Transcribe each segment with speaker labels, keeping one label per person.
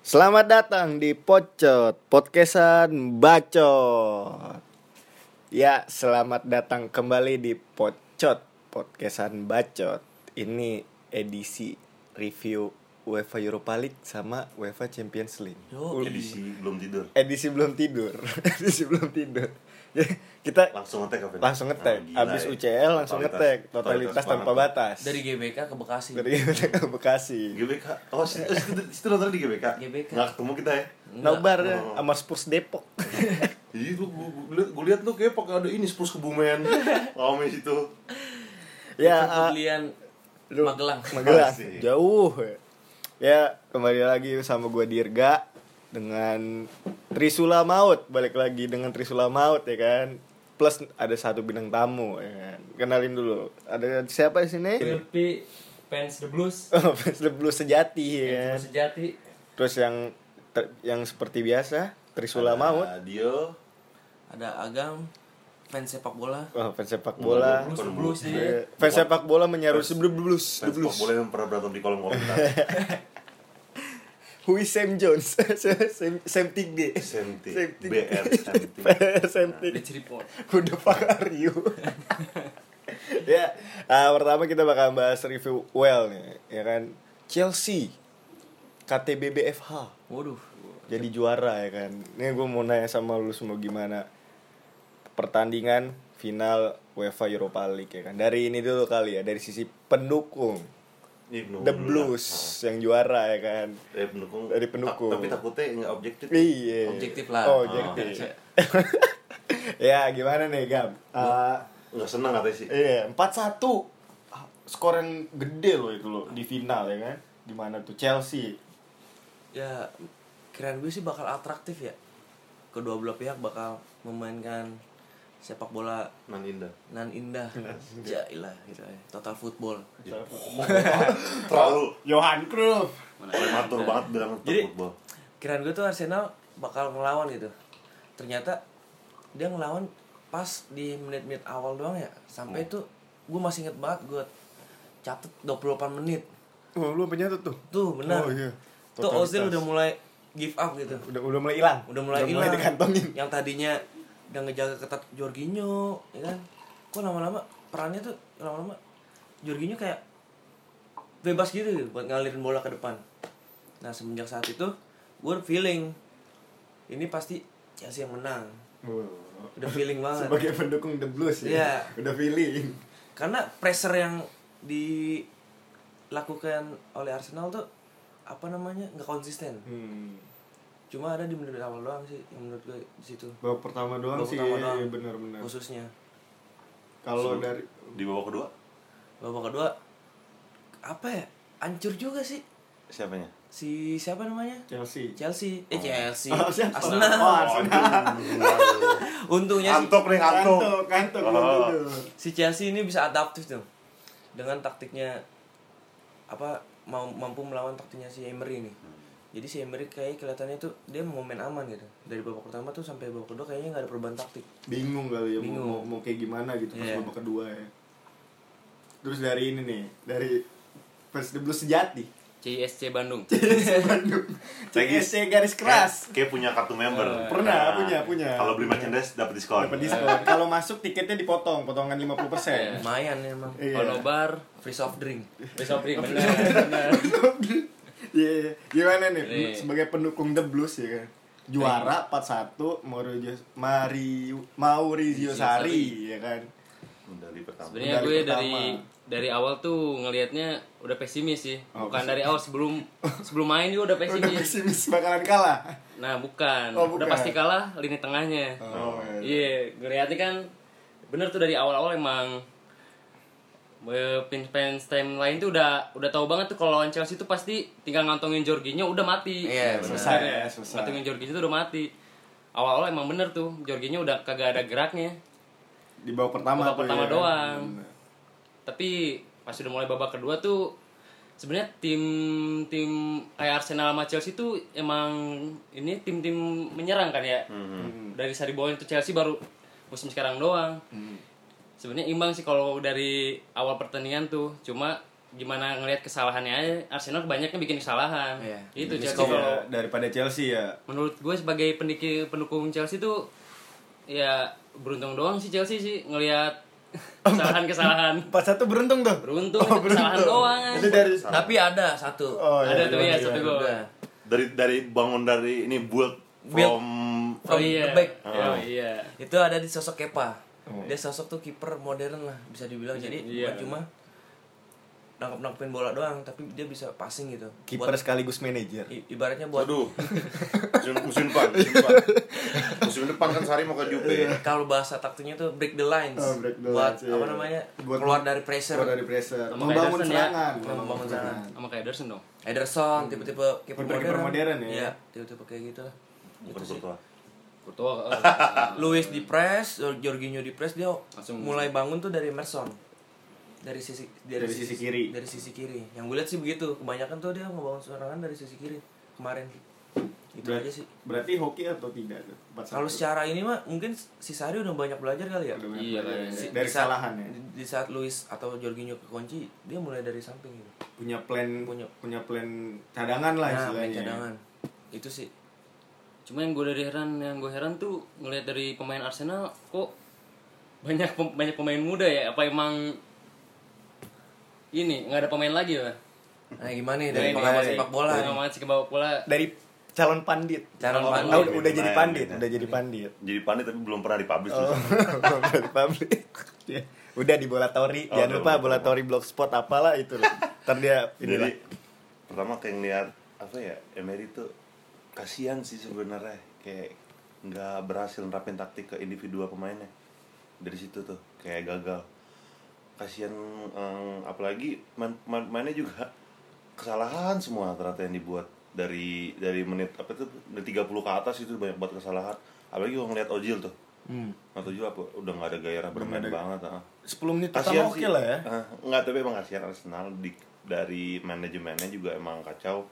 Speaker 1: Selamat datang di Pocot Podcastan Bacot. Ya, selamat datang kembali di Pocot Podcastan Bacot. Ini edisi review UEFA Europa League sama UEFA Champions League.
Speaker 2: Yo,
Speaker 1: Ul-
Speaker 2: edisi belum tidur.
Speaker 1: edisi belum tidur. edisi belum tidur. Jadi, kita
Speaker 2: Langsung ngetek ya. apa? Ah,
Speaker 1: langsung ngetek. Abis UCL langsung ngetek. Totalitas tanpa batas.
Speaker 3: dari GBK ke Bekasi
Speaker 1: Dari ke Bekasi.
Speaker 2: GBK. Oh, situ, oh, situ, situ nonton di GBK.
Speaker 3: GBK.
Speaker 2: Nggak ketemu kita ya.
Speaker 1: Nobar ya,
Speaker 2: Oh.
Speaker 1: sama Spurs Depok.
Speaker 2: Jadi lu gue lihat tuh kayak pakai ada ini Spurs Kebumen. Rame situ.
Speaker 1: ya,
Speaker 3: ya
Speaker 1: ah,
Speaker 3: pembelian
Speaker 1: Lu-
Speaker 3: Magelang
Speaker 1: Magelang
Speaker 2: Pasti.
Speaker 1: jauh ya kembali lagi sama gue Dirga dengan Trisula Maut balik lagi dengan Trisula Maut ya kan plus ada satu bintang tamu ya kan kenalin dulu ada siapa di sini
Speaker 4: Filpi fans the blues
Speaker 1: Oh, Fans The Blues sejati ya
Speaker 4: yang
Speaker 1: kan
Speaker 4: sejati
Speaker 1: terus yang ter- yang seperti biasa Trisula
Speaker 2: Ada
Speaker 1: Maut
Speaker 2: Dio.
Speaker 3: ada Agam fans sepak bola
Speaker 1: oh, fans sepak bola
Speaker 4: blues
Speaker 2: Bukan
Speaker 4: blues
Speaker 2: blues.
Speaker 4: nih
Speaker 1: Eh, fans sepak bola menyaru sebelum blues The
Speaker 2: Fans
Speaker 1: Blues
Speaker 2: sepak bola yang pernah berantem di kolom komentar.
Speaker 1: Hui Sam Jones Sam Sam Tigde
Speaker 2: Semti.
Speaker 1: Sam Tigde
Speaker 2: BR Semti.
Speaker 1: Sam Tigde
Speaker 4: Rich Report
Speaker 1: Who the fuck are you? ya, ah, pertama kita bakal bahas review well nih, ya kan? Chelsea, KTBBFH,
Speaker 3: waduh
Speaker 1: jadi juara ya kan? Ini gue mau nanya sama lu semua gimana pertandingan final UEFA Europa League ya kan? Dari ini dulu kali ya, dari sisi pendukung
Speaker 2: Ibnu
Speaker 1: The
Speaker 2: Nah, dulu lah.
Speaker 1: Blues yang juara ya kan?
Speaker 2: Dari pendukung.
Speaker 1: Dari pendukung.
Speaker 2: Ta- Tapi takutnya nggak objektif.
Speaker 1: Iya.
Speaker 3: Objektif lah.
Speaker 1: Oh, objektif. ya gimana nih Gam? Ah,
Speaker 2: Nggak senang katanya sih.
Speaker 1: Iya, empat satu. Skor yang gede loh itu loh di final ya kan? Di mana tuh Chelsea.
Speaker 3: ya keren gue sih bakal atraktif ya kedua belah pihak bakal memainkan sepak bola
Speaker 2: Nan Indah.
Speaker 3: nan indah
Speaker 1: Iya.
Speaker 3: ya ilah gitu ya. total football
Speaker 2: Terlalu
Speaker 1: Johan Cruyff.
Speaker 2: prematur banget bilang
Speaker 3: Jadi-
Speaker 2: tentang football.
Speaker 3: kirain gue tuh Arsenal bakal ngelawan gitu ternyata dia ngelawan pas di menit-menit awal doang ya
Speaker 1: Oh.
Speaker 3: sampai itu gue masih inget banget gue catet 28 menit
Speaker 1: Oh, lu punya tuh tuh.
Speaker 3: tuh benar
Speaker 1: Oh, iya.
Speaker 3: tuh
Speaker 1: Totalitas.
Speaker 3: Ozil udah mulai give up gitu
Speaker 1: Udah udah mulai hilang.
Speaker 3: udah mulai
Speaker 1: mulai
Speaker 3: hilang
Speaker 1: dikantongin.
Speaker 3: yang tadinya udah ngejaga ketat Jorginho ya kan kok lama-lama perannya tuh lama-lama Jorginho kayak bebas gitu buat ngalirin bola ke depan nah semenjak saat itu gue feeling ini pasti Chelsea yang menang
Speaker 1: Wow.
Speaker 3: udah feeling banget
Speaker 1: Oh. Sebagai pendukung The Blues ya.
Speaker 3: Ah. Iya.
Speaker 1: Udah feeling.
Speaker 3: karena pressure yang dilakukan oleh Arsenal tuh apa namanya nggak konsisten
Speaker 1: Hmm.
Speaker 3: cuma ada di menit awal doang sih yang menurut gue di situ
Speaker 1: Babak pertama doang
Speaker 3: Babak
Speaker 1: sih
Speaker 3: pertama doang.
Speaker 1: iya, benar-benar.
Speaker 3: khususnya
Speaker 1: Kalau dari
Speaker 2: di babak kedua
Speaker 3: babak kedua apa ya ancur juga sih
Speaker 2: siapanya?
Speaker 3: si siapa namanya
Speaker 1: Chelsea.
Speaker 3: Chelsea eh Chelsea
Speaker 1: Oh, siapa?
Speaker 3: Arsenal
Speaker 1: Oh, Arsenal.
Speaker 3: untungnya sih
Speaker 2: Ngantuk nih ngantuk.
Speaker 1: Kantuk, kantuk.
Speaker 2: Oh.
Speaker 1: belum tidur.
Speaker 3: si Chelsea ini bisa adaptif tuh dengan taktiknya apa mau mampu melawan taktiknya si Emery ini
Speaker 1: Hmm.
Speaker 3: jadi si Emery kayak kelihatannya tuh dia mau main aman gitu dari babak pertama tuh sampai babak kedua kayaknya nggak ada perubahan taktik
Speaker 1: bingung kali ya mau-
Speaker 3: Bingung.
Speaker 1: Mau, mau kayak gimana gitu pas
Speaker 3: Iya.
Speaker 1: babak kedua ya terus dari ini nih dari First the Blue sejati
Speaker 4: CISC Bandung
Speaker 1: Bandung CSC garis keras
Speaker 2: Kayak punya kartu member.
Speaker 1: pernah punya punya
Speaker 2: Kalau beli merchandise dapat diskon.
Speaker 1: Dapat diskon kalau masuk tiketnya dipotong potongan 50%
Speaker 3: lumayan ya, emang
Speaker 1: Iya.
Speaker 4: Konobar
Speaker 3: free soft drink
Speaker 4: besok Pri bener bener
Speaker 1: Iya, iya. gimana nih
Speaker 4: Nih.
Speaker 1: sebagai pendukung The Blues ya kan juara 41 Maurizio Mario Maurizio
Speaker 4: Maurizio
Speaker 1: Sarri ya kan
Speaker 2: Medali Hmm, pertama.
Speaker 4: sebenarnya
Speaker 1: Medali
Speaker 4: gue
Speaker 1: pertama.
Speaker 4: dari dari awal tuh ngelihatnya udah pesimis sih
Speaker 1: Oh,
Speaker 4: bukan
Speaker 1: pesimis.
Speaker 4: dari awal sebelum sebelum main juga udah
Speaker 1: udah
Speaker 4: pesimis
Speaker 1: pesimis bakalan kalah
Speaker 4: nah bukan.
Speaker 1: Oh, bukan.
Speaker 4: udah pasti kalah lini tengahnya
Speaker 1: oh,
Speaker 4: iya ngelihatnya kan bener tuh dari awal-awal emang eh, fans-fans time lain tuh udah udah tahu banget tuh kalau lawan Chelsea tuh pasti tinggal ngantongin Jorginho udah mati.
Speaker 3: Iya, benar.
Speaker 1: Susah ya, susah.
Speaker 4: Ngantongin Jorginho tuh udah mati. Awal-awal emang bener tuh Jorginho udah kagak ada geraknya.
Speaker 1: di bawah pertama
Speaker 4: Babak
Speaker 1: tuh,
Speaker 4: pertama
Speaker 1: ya kan.
Speaker 4: doang. Tapi pas udah mulai babak kedua tuh sebenarnya tim tim kayak Arsenal sama Chelsea tuh emang ini tim-tim menyerang kan ya. Dari Sari Bowen tuh Chelsea baru musim sekarang doang. Sebenarnya imbang sih kalau dari awal pertandingan tuh, cuma gimana ngelihat kesalahannya aja, Arsenal kebanyakan bikin kesalahan.
Speaker 3: Iya.
Speaker 4: Itu
Speaker 1: Jadi
Speaker 4: jadi
Speaker 1: ya,
Speaker 4: kalau
Speaker 1: daripada Chelsea ya
Speaker 4: menurut gue sebagai pendiki, pendukung Chelsea tuh ya beruntung doang sih Chelsea sih ngelihat kesalahan-kesalahan.
Speaker 1: pas satu beruntung tuh
Speaker 4: Beruntung itu kesalahan doang.
Speaker 1: itu dari
Speaker 3: Tapi ada satu.
Speaker 1: oh iya,
Speaker 4: Ada tuh
Speaker 1: iya,
Speaker 4: ya
Speaker 1: iya.
Speaker 4: satu gol.
Speaker 3: Udah.
Speaker 2: dari dari bangun dari ini build
Speaker 3: Build.
Speaker 2: from
Speaker 4: Oh
Speaker 3: From
Speaker 4: iya.
Speaker 3: the back.
Speaker 4: Oh iya.
Speaker 3: itu ada di sosok Kepa dia sosok tuh kiper modern lah bisa dibilang jadi
Speaker 4: Iya.
Speaker 3: bukan cuma nangkep nangkepin bola doang tapi dia bisa passing gitu
Speaker 1: kiper
Speaker 3: Buat-
Speaker 1: sekaligus manajer
Speaker 3: i- ibaratnya buat
Speaker 2: Waduh, musim, musim depan, musim depan, musim depan kan Sari mau ke Juve.
Speaker 3: kalau bahasa taktiknya tuh break the lines
Speaker 1: Oh, break the
Speaker 3: buat
Speaker 1: lines, iya.
Speaker 3: apa namanya
Speaker 1: Buat-
Speaker 3: keluar dari pressure
Speaker 1: Keluar dari pressure
Speaker 4: Sama
Speaker 1: membangun
Speaker 4: Henderson ya.
Speaker 1: serangan
Speaker 3: Membangun serangan.
Speaker 4: Sama kayak Ederson dong.
Speaker 3: Ederson tipe-tipe kiper
Speaker 1: Hmm. Kiper-kiper
Speaker 3: modern,
Speaker 1: modern ya.
Speaker 3: Iya, tipe-tipe kayak gitu lah
Speaker 2: Bukan Courtois.
Speaker 4: Courtois. eh,
Speaker 3: Luis di press Jorginho di press dia
Speaker 4: Langsung-
Speaker 3: mulai bangun tuh dari Merson dari sisi
Speaker 1: Dari sisi kiri.
Speaker 3: dari sisi kiri yang gue lihat sih begitu kebanyakan tuh dia ngebangun serangan dari sisi kiri kemarin itu
Speaker 1: Berarti-
Speaker 3: aja sih
Speaker 1: berarti hoki atau tidak tuh
Speaker 3: Kalau secara ini mah mungkin si Sari udah banyak belajar kali ya.
Speaker 4: Iya,
Speaker 3: Si-
Speaker 1: dari
Speaker 3: di saat-
Speaker 1: kesalahan ya
Speaker 3: Di, di saat Luis atau Jorginho kekunci, dia mulai dari samping gitu.
Speaker 1: punya plan punya
Speaker 3: Punya.
Speaker 1: plan cadangan lah
Speaker 3: Nah, main
Speaker 1: istilahnya ya.
Speaker 3: cadangan. Itu sih.
Speaker 4: Cuma yang gue dari heran, yang gue heran tuh ngelihat dari pemain Arsenal kok banyak pem- banyak pemain muda ya. Apa emang ini nggak ada pemain lagi ya?
Speaker 3: Nah, gimana nih
Speaker 4: Dari-
Speaker 3: dari pengamat
Speaker 4: dari-
Speaker 3: sepak bola?
Speaker 4: dari Pengamat sepak bola.
Speaker 1: dari calon pandit
Speaker 3: Cara
Speaker 1: Oh,
Speaker 4: Calon
Speaker 3: pandang.
Speaker 1: udah, udah jadi pandit udah jadi pandit
Speaker 2: Jadi pandit tapi belum pernah dipublish
Speaker 1: Oh,
Speaker 2: tuh.
Speaker 1: belum dari publik. Ya, udah di bola tori
Speaker 2: Oh,
Speaker 1: jangan
Speaker 2: belum,
Speaker 1: lupa
Speaker 2: belum.
Speaker 1: bola tori blogspot apalah itu ntar dia inilah
Speaker 2: Jadi pertama kayak ngeliat apa ya Emery tuh kasihan sih sebenarnya kayak nggak berhasil nerapin taktik ke individual pemainnya dari situ tuh kayak gagal kasihan em, apalagi main, main- mainnya juga kesalahan semua ternyata yang dibuat dari dari menit apa tuh dari 30 ke atas itu banyak banget kesalahan apalagi kalau ngeliat Ojil tuh atau juga apa udah nggak ada gairah bermain banget ah.
Speaker 1: 10 menit pertama
Speaker 2: Kasihan
Speaker 1: oke lah ya
Speaker 2: Eh, enggak, tapi emang kasihan Arsenal di, dari manajemennya juga emang kacau.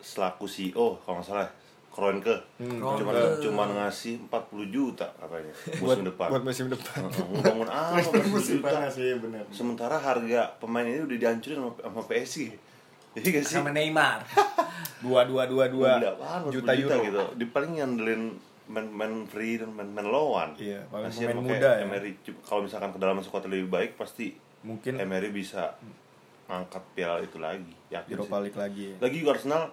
Speaker 2: Selaku CEO kalau nggak salah Kroenke
Speaker 1: Hmm,
Speaker 2: cuman
Speaker 3: Kroenke.
Speaker 2: cuman ngasih 40 juta katanya
Speaker 1: buat
Speaker 2: musim depan. Oh.
Speaker 1: buat musim depan
Speaker 2: Heeh, ngebangun apa 40
Speaker 1: musim
Speaker 2: juta.
Speaker 1: panas ya benar
Speaker 2: Sementara harga pemain ini udah dihancurin sama, sama PSG. Jadi gak Iya sih?
Speaker 3: Sama Neymar.
Speaker 1: dua dua dua dua
Speaker 2: Gila, apaan, 40
Speaker 1: juta euro
Speaker 2: gitu. Di paling ngandelin main main free dan main, main lawan.
Speaker 1: Iya, paling
Speaker 2: Kasihan
Speaker 1: pemain
Speaker 2: makanya
Speaker 1: muda ya.
Speaker 2: Emery cu- kalau misalkan kedalaman squad lebih baik pasti
Speaker 1: Mungkin-
Speaker 2: Emery bisa angkat piala itu lagi. Yakin
Speaker 1: Europa
Speaker 2: sih.
Speaker 1: League lagi ya.
Speaker 2: Lagi juga Arsenal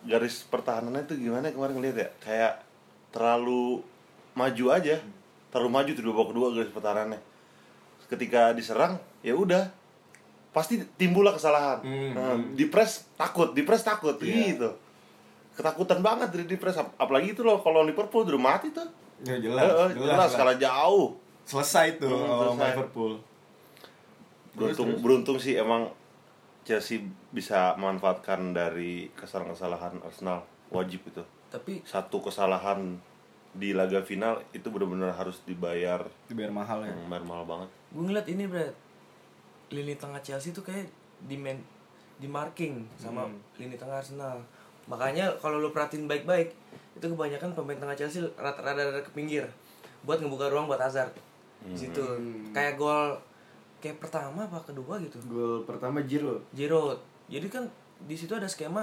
Speaker 2: garis pertahanannya itu gimana kemarin ngeliat ya? Kayak terlalu maju aja. Terlalu maju tuh dua babak kedua garis pertahanannya. Ketika diserang, ya udah pasti timbullah kesalahan. Nah, di press takut, di press takut gitu. Ketakutan banget dari di press Ap- apalagi itu loh kalau Liverpool udah mati tuh.
Speaker 1: Ya,
Speaker 2: Jelas, Eh, jelas, kalah jauh.
Speaker 1: Selesai tuh
Speaker 2: Hmm,
Speaker 1: lawan
Speaker 2: selesai.
Speaker 1: Liverpool.
Speaker 2: Beruntung beruntung sih emang Chelsea bisa memanfaatkan dari kesalahan-kesalahan Arsenal wajib itu.
Speaker 3: Tapi
Speaker 2: Satu kesalahan di laga final itu benar-benar harus dibayar
Speaker 1: Dibayar mahal ya.
Speaker 2: yang mahal banget.
Speaker 3: gue ngeliat ini berat lini tengah Chelsea tuh kayak di man- di marking sama lini tengah Arsenal makanya kalau lu perhatiin baik-baik itu kebanyakan pemain tengah Chelsea rada-rada ke pinggir buat ngebuka ruang buat Hazard Di situ
Speaker 1: Hmm.
Speaker 3: kayak gol kayak pertama apa kedua gitu
Speaker 1: Gol pertama Giroud.
Speaker 3: Giroud jadi kan di situ ada skema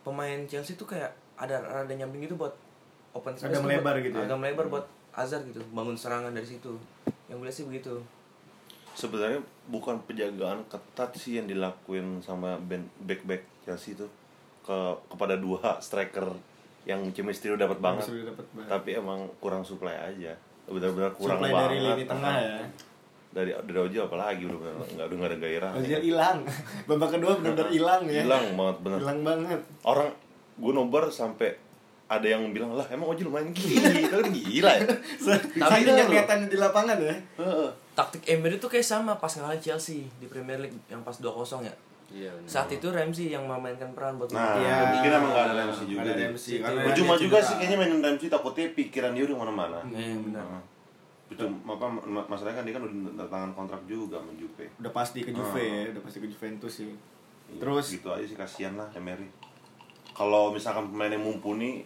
Speaker 3: pemain Chelsea tuh kayak ada rada nyamping gitu buat open space
Speaker 1: Agak
Speaker 3: tuh
Speaker 1: melebar
Speaker 3: buat-
Speaker 1: gitu ya?
Speaker 3: agak melebar buat Hazard gitu bangun serangan dari situ yang gue lihat sih begitu
Speaker 2: Sebenarnya bukan penjagaan ketat sih yang dilakuin sama ben- back-back Chelsea itu ke kepada dua striker yang chemistry udah dapat banget.
Speaker 1: Chemistry udah dapet banget.
Speaker 2: Tapi emang kurang supply aja. Benar-benar kurang
Speaker 1: Supply
Speaker 2: banget. Iya.
Speaker 1: dari lini tengah ya.
Speaker 2: Dari dari Ojo apalagi benar-benar enggak ada nggak ada gairah.
Speaker 1: Ozil hilang. Babak kedua benar-benar hilang ya.
Speaker 2: Iya. Hilang banget bener.
Speaker 1: Hilang banget.
Speaker 2: Orang gue nobar sampai ada yang bilang lah emang Ojo lumayan gila, gila ya.
Speaker 1: Tapi yang kelihatan di lapangan ya.
Speaker 2: Heeh.
Speaker 3: taktik Emery tuh kayak sama pas ngalahin Chelsea di Premier League yang pas 2-0 ya.
Speaker 4: Iya. bener.
Speaker 3: Saat itu Ramsey yang memainkan peran buat
Speaker 2: Nah,
Speaker 1: Iya.
Speaker 2: mungkin emang gak ada Ramsey juga
Speaker 1: Ada
Speaker 2: deh.
Speaker 1: MC, karena dia
Speaker 2: Percuma juga
Speaker 1: cedera.
Speaker 2: sih kayaknya mainin Ramsey takutnya pikiran dia udah kemana-mana.
Speaker 3: Iya, benar.
Speaker 2: Percuma apa ma- masalahnya kan dia kan udah tanda tangan kontrak juga sama Juve.
Speaker 1: Udah pasti ke
Speaker 2: Ah.
Speaker 1: Juve ya, udah pasti ke Juventus sih. Terus
Speaker 2: gitu aja sih kasihan lah Emery. Kalau misalkan pemainnya mumpuni,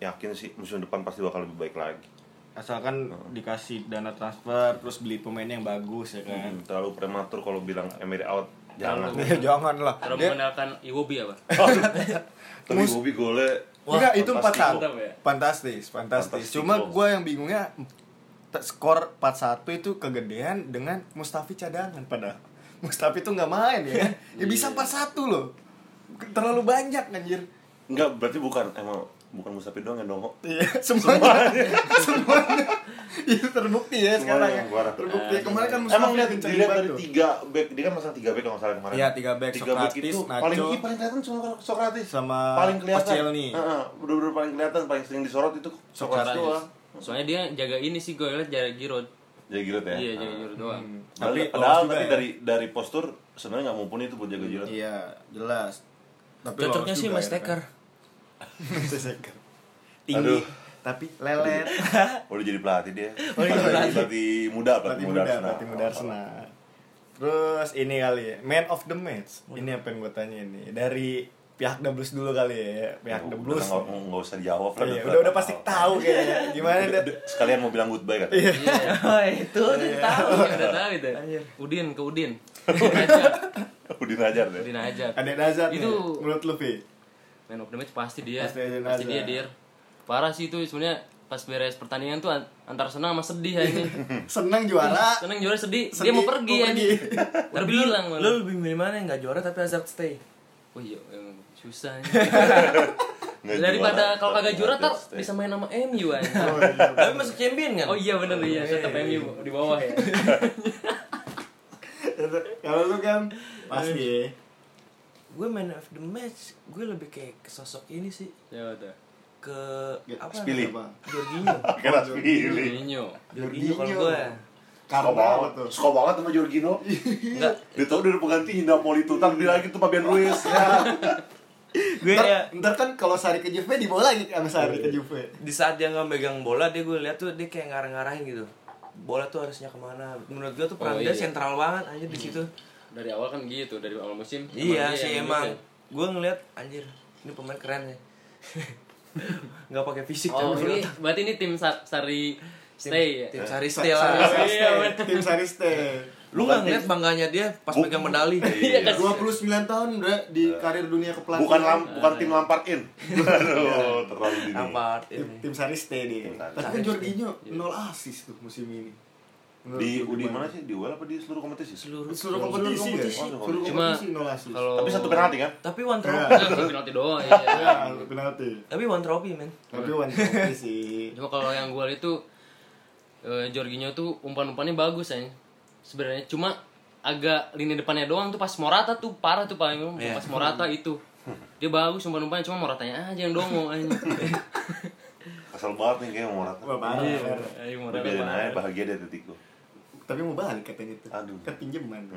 Speaker 2: yakin sih musim depan pasti bakal lebih baik lagi.
Speaker 1: asalkan
Speaker 2: Ah.
Speaker 1: dikasih dana transfer terus beli pemain yang bagus ya kan.
Speaker 2: Terlalu prematur kalau bilang Emery out Jangan.
Speaker 4: Terlalu,
Speaker 1: Ya, jangan lah.
Speaker 4: terlalu
Speaker 1: Dia-
Speaker 4: mengenalkan Iwobi apa?
Speaker 2: Tapi Bobby gole.
Speaker 1: Enggak, itu empat
Speaker 2: fantastis.
Speaker 1: satu.
Speaker 4: Mantap ya.
Speaker 1: Fantastis, fantastis.
Speaker 2: Fantastis.
Speaker 1: Cuma gue yang bingungnya t- skor 4-1 itu kegedean dengan Mustafi cadangan padahal. Mustafi tuh nggak main ya. ya
Speaker 4: Iya.
Speaker 1: bisa 4-1 loh. Terlalu banyak anjir.
Speaker 2: Enggak, berarti bukan emang bukan Musafi doang yang dongok.
Speaker 1: Iya, semuanya. semuanya. Itu terbukti ya sekarang ya.
Speaker 2: yang parah.
Speaker 1: Terbukti. Kemarin kan Mustafi
Speaker 2: Emang lihat
Speaker 1: kenceng
Speaker 2: dilihat
Speaker 1: banget
Speaker 2: dari
Speaker 1: tuh.
Speaker 2: tiga back, dia kan masang tiga back kalau nggak salah kemarin.
Speaker 1: Iya, tiga back,
Speaker 2: Tiga back
Speaker 1: Sokratis,
Speaker 2: itu
Speaker 1: Nacho.
Speaker 2: paling ih, paling kelihatan cuma Sokratis
Speaker 1: Sama
Speaker 2: paling kelihatan.
Speaker 1: Koscielny.
Speaker 2: Heeh, bener-bener paling kelihatan paling sering disorot itu Sokratis doang.
Speaker 4: Soalnya dia jaga ini sih gue liat jaga Giroud.
Speaker 2: Jadi Giroud ya.
Speaker 4: Iya,
Speaker 2: Heeh.
Speaker 4: jaga Giroud doang.
Speaker 1: Tapi lolos
Speaker 2: Padahal- padahal
Speaker 1: juga
Speaker 2: tapi
Speaker 1: ya.
Speaker 2: dari dari postur sebenarnya nggak mumpuni itu buat jaga Giroud.
Speaker 1: Iya, jelas. Tapi
Speaker 3: Cocoknya
Speaker 1: lolos
Speaker 3: sih
Speaker 1: juga
Speaker 3: Mas
Speaker 1: ya, kan?
Speaker 3: Teker.
Speaker 1: Mas Teker. Tinggi,
Speaker 2: Aduh.
Speaker 1: tapi lelet.
Speaker 2: Udah jadi pelatih dia.
Speaker 1: Oh, iya, pelatih.
Speaker 2: pelatih. pelatih muda,
Speaker 1: Pelatih
Speaker 2: pelatih muda. nah.
Speaker 1: muda,
Speaker 2: Arsenal.
Speaker 1: pelatih muda Arsenal. Terus ini kali ya, man of the match. Ini apa yang gue tanya ini dari pihak The Blues dulu kali ya, pihak The
Speaker 2: Nah, Udah
Speaker 1: Blues.
Speaker 2: nggak- nggak usah dijawab lah. oh.
Speaker 1: Iya, udah udah pasti tahu kayaknya gimana
Speaker 2: Udah-
Speaker 1: deh. Iya.
Speaker 2: udah- sekalian mau bilang goodbye kan.
Speaker 3: Oh, itu
Speaker 4: Udah tahu, ya, udah tahu itu.
Speaker 3: Anjir.
Speaker 4: Udin ke Udin. Ajak,
Speaker 2: Udin ajar deh.
Speaker 4: Udin aja.
Speaker 1: Ada Nazar nih,
Speaker 4: Itu-
Speaker 1: menurut lu Fi?
Speaker 4: Man of the match pasti dia.
Speaker 1: Pasti Eden
Speaker 4: Pasti dia,
Speaker 1: Hazard.
Speaker 4: Dir. Parah sih itu sebenarnya pas beres pertandingan tuh an- antara senang sama sedih aja.
Speaker 2: Hmm.
Speaker 1: Seneng juara.
Speaker 4: Senang juara sedih, dia
Speaker 1: Sedih,
Speaker 4: mau pergi
Speaker 1: mau
Speaker 4: aja.
Speaker 1: pergi.
Speaker 4: Ntar bilang
Speaker 3: Lu
Speaker 4: malah.
Speaker 3: lebih milih mana yang nggak juara tapi Hazard stay?
Speaker 4: Oh iya, emang susah. ini.
Speaker 2: Nggak
Speaker 4: Daripada
Speaker 2: juara,
Speaker 4: kalau kagak juara
Speaker 2: nggak
Speaker 4: ntar
Speaker 2: juara.
Speaker 4: bisa main sama MU
Speaker 1: Oh,
Speaker 4: aja.
Speaker 1: iya,
Speaker 3: Tapi masuk champion kan?
Speaker 4: Oh iya bener iya, tetap MU di bawah ya.
Speaker 1: Kalau lu kan pasti. ya.
Speaker 3: Gue man of the match, gue lebih kayak ke sosok ini sih
Speaker 4: Ya udah.
Speaker 3: ke apa?
Speaker 2: Spili.
Speaker 1: Apa?
Speaker 3: Jorginho.
Speaker 2: Keras pilih.
Speaker 4: Mourinho.
Speaker 3: Jorginho kalau gue. ya.
Speaker 1: Karena apa tuh?
Speaker 2: Suka banget sama Jorginho.
Speaker 3: Enggak,
Speaker 2: Dia tau dia udah pengganti Napoli tutang dia lagi tuh Fabian Ruiz. Ya.
Speaker 3: gue
Speaker 1: Ntar-
Speaker 3: ya
Speaker 1: Ntar kan kalau Sari ke Juve dibawa lagi kan sama Sari ke Juve.
Speaker 3: di saat dia nggak megang bola dia gue lihat tuh dia kayak ngarang-ngarahin gitu bola tuh harusnya kemana menurut gue tuh peran
Speaker 4: Oh,
Speaker 3: dia
Speaker 4: iya. Hmm.
Speaker 3: sentral banget anjir di situ
Speaker 4: Dari awal kan gitu, dari awal musim.
Speaker 3: iya
Speaker 4: dia
Speaker 3: sih
Speaker 4: yang
Speaker 3: emang
Speaker 4: gitu.
Speaker 3: gue ngeliat anjir ini pemain keren ya nggak pakai fisik
Speaker 4: Oh,
Speaker 3: coy.
Speaker 4: ini berarti ini tim Sa- Sari Stay ya.
Speaker 3: tim Sari Stay
Speaker 1: Sari
Speaker 3: lah
Speaker 1: Sari
Speaker 4: Iya,
Speaker 1: stay.
Speaker 4: bener.
Speaker 1: Tim Sari stay.
Speaker 3: lu nggak ngeliat bangganya dia pas
Speaker 2: Bu-
Speaker 3: pegang medali
Speaker 4: Iya kan.
Speaker 1: 29 tahun udah di karir dunia kepelatihan.
Speaker 2: Bukan lam, bukan
Speaker 4: Iya.
Speaker 2: tim Lampard-in.
Speaker 1: Iya.
Speaker 2: Aduh, terlalu dini.
Speaker 3: apa
Speaker 1: tim,
Speaker 3: ini
Speaker 1: tim Sari stay dia.
Speaker 2: Tim Sari
Speaker 1: Tapi
Speaker 3: stay.
Speaker 1: kan Jorginho nol asis tuh musim ini. Menurut
Speaker 2: Di
Speaker 1: lu
Speaker 2: di
Speaker 1: gimana?
Speaker 2: mana sih? Di UEL apa di seluruh kompetisi?
Speaker 3: seluruh
Speaker 1: Seluruh kompetisi ya. Seluruh
Speaker 4: Cuma
Speaker 1: kompetisi nol asis.
Speaker 4: Kalau
Speaker 2: Tapi satu penalti kan?
Speaker 3: tapi one
Speaker 1: Iya.
Speaker 3: trophy
Speaker 4: Nah, satu penalti doang iya.
Speaker 1: Ya, penalti.
Speaker 3: tapi one trophy men
Speaker 1: Tapi one trophy sih.
Speaker 4: Cuma kalau yang gue itu eh, Jorginho tuh umpan-umpannya bagus ya. Sebenarnya cuma agak lini depannya doang tuh pas Morata tuh parah tuh paling pas Morata itu. Dia bagus umpan-umpannya cuma Moratanya aja yang dongo anjing.
Speaker 2: Kesel banget nih kayaknya mau rata.
Speaker 1: Wah, parah.
Speaker 4: Ayo Morata.
Speaker 2: Biarin
Speaker 4: parah.
Speaker 2: aja bahagia di Atletico.
Speaker 1: Tapi mau balik katanya tuh.
Speaker 2: Aduh.
Speaker 1: Kan pinjaman.
Speaker 2: Mhm.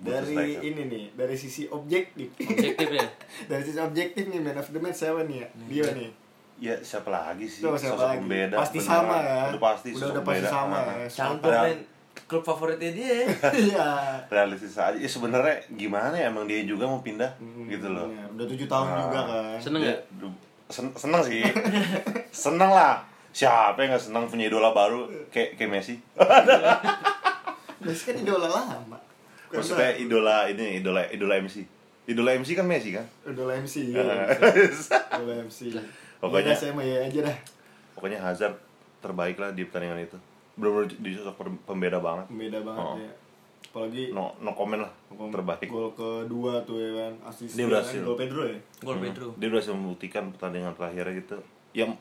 Speaker 1: Dari
Speaker 2: Butuh striker.
Speaker 1: ini nih, dari sisi objektif.
Speaker 4: Objektif ya.
Speaker 1: dari sisi objektif nih man of the match siapa nih ya? Dia nih.
Speaker 2: Ya siapa lagi sih?
Speaker 1: Coba siapa
Speaker 2: sosok
Speaker 1: lagi?
Speaker 2: pembeda.
Speaker 1: Pasti
Speaker 2: beneran.
Speaker 1: sama ya.
Speaker 2: Udah pasti
Speaker 1: Udah-
Speaker 2: sosok
Speaker 1: udah pasti
Speaker 2: pembeda.
Speaker 1: sama ya.
Speaker 2: Ah.
Speaker 3: campur
Speaker 2: Padahal-
Speaker 3: men klub favoritnya dia ya.
Speaker 1: Iya.
Speaker 2: realistis aja ya sebenarnya gimana ya emang dia juga mau pindah gitu loh
Speaker 1: Iya, Udah 7 tahun
Speaker 2: Ah.
Speaker 1: juga kan.
Speaker 4: Seneng
Speaker 2: Dia-
Speaker 4: ya?
Speaker 2: du- sen- seneng sih seneng lah siapa yang nggak seneng punya idola baru kayak kayak Messi
Speaker 1: Messi kan idola lama. Bukan
Speaker 2: maksudnya
Speaker 1: baru.
Speaker 2: idola ini idola idola MC idola MC kan Messi kan
Speaker 1: idola MC. Idola MC.
Speaker 2: Pokoknya-
Speaker 1: Pokoknya saya mau ya aja dah.
Speaker 2: pokoknya Hazard terbaik lah di pertandingan itu bener-bener di sosok per- pembeda banget
Speaker 1: Beda banget
Speaker 2: Oh.
Speaker 1: ya. Apalagi
Speaker 2: no no comment lah
Speaker 1: hukum
Speaker 2: terbaik
Speaker 1: Gol kedua tuh ya kan. Asis
Speaker 2: Dia berhasil.
Speaker 1: Gol Pedro ya.
Speaker 3: gol
Speaker 2: Hmm.
Speaker 3: Pedro
Speaker 2: dia berhasil membuktikan pertandingan terakhirnya gitu yang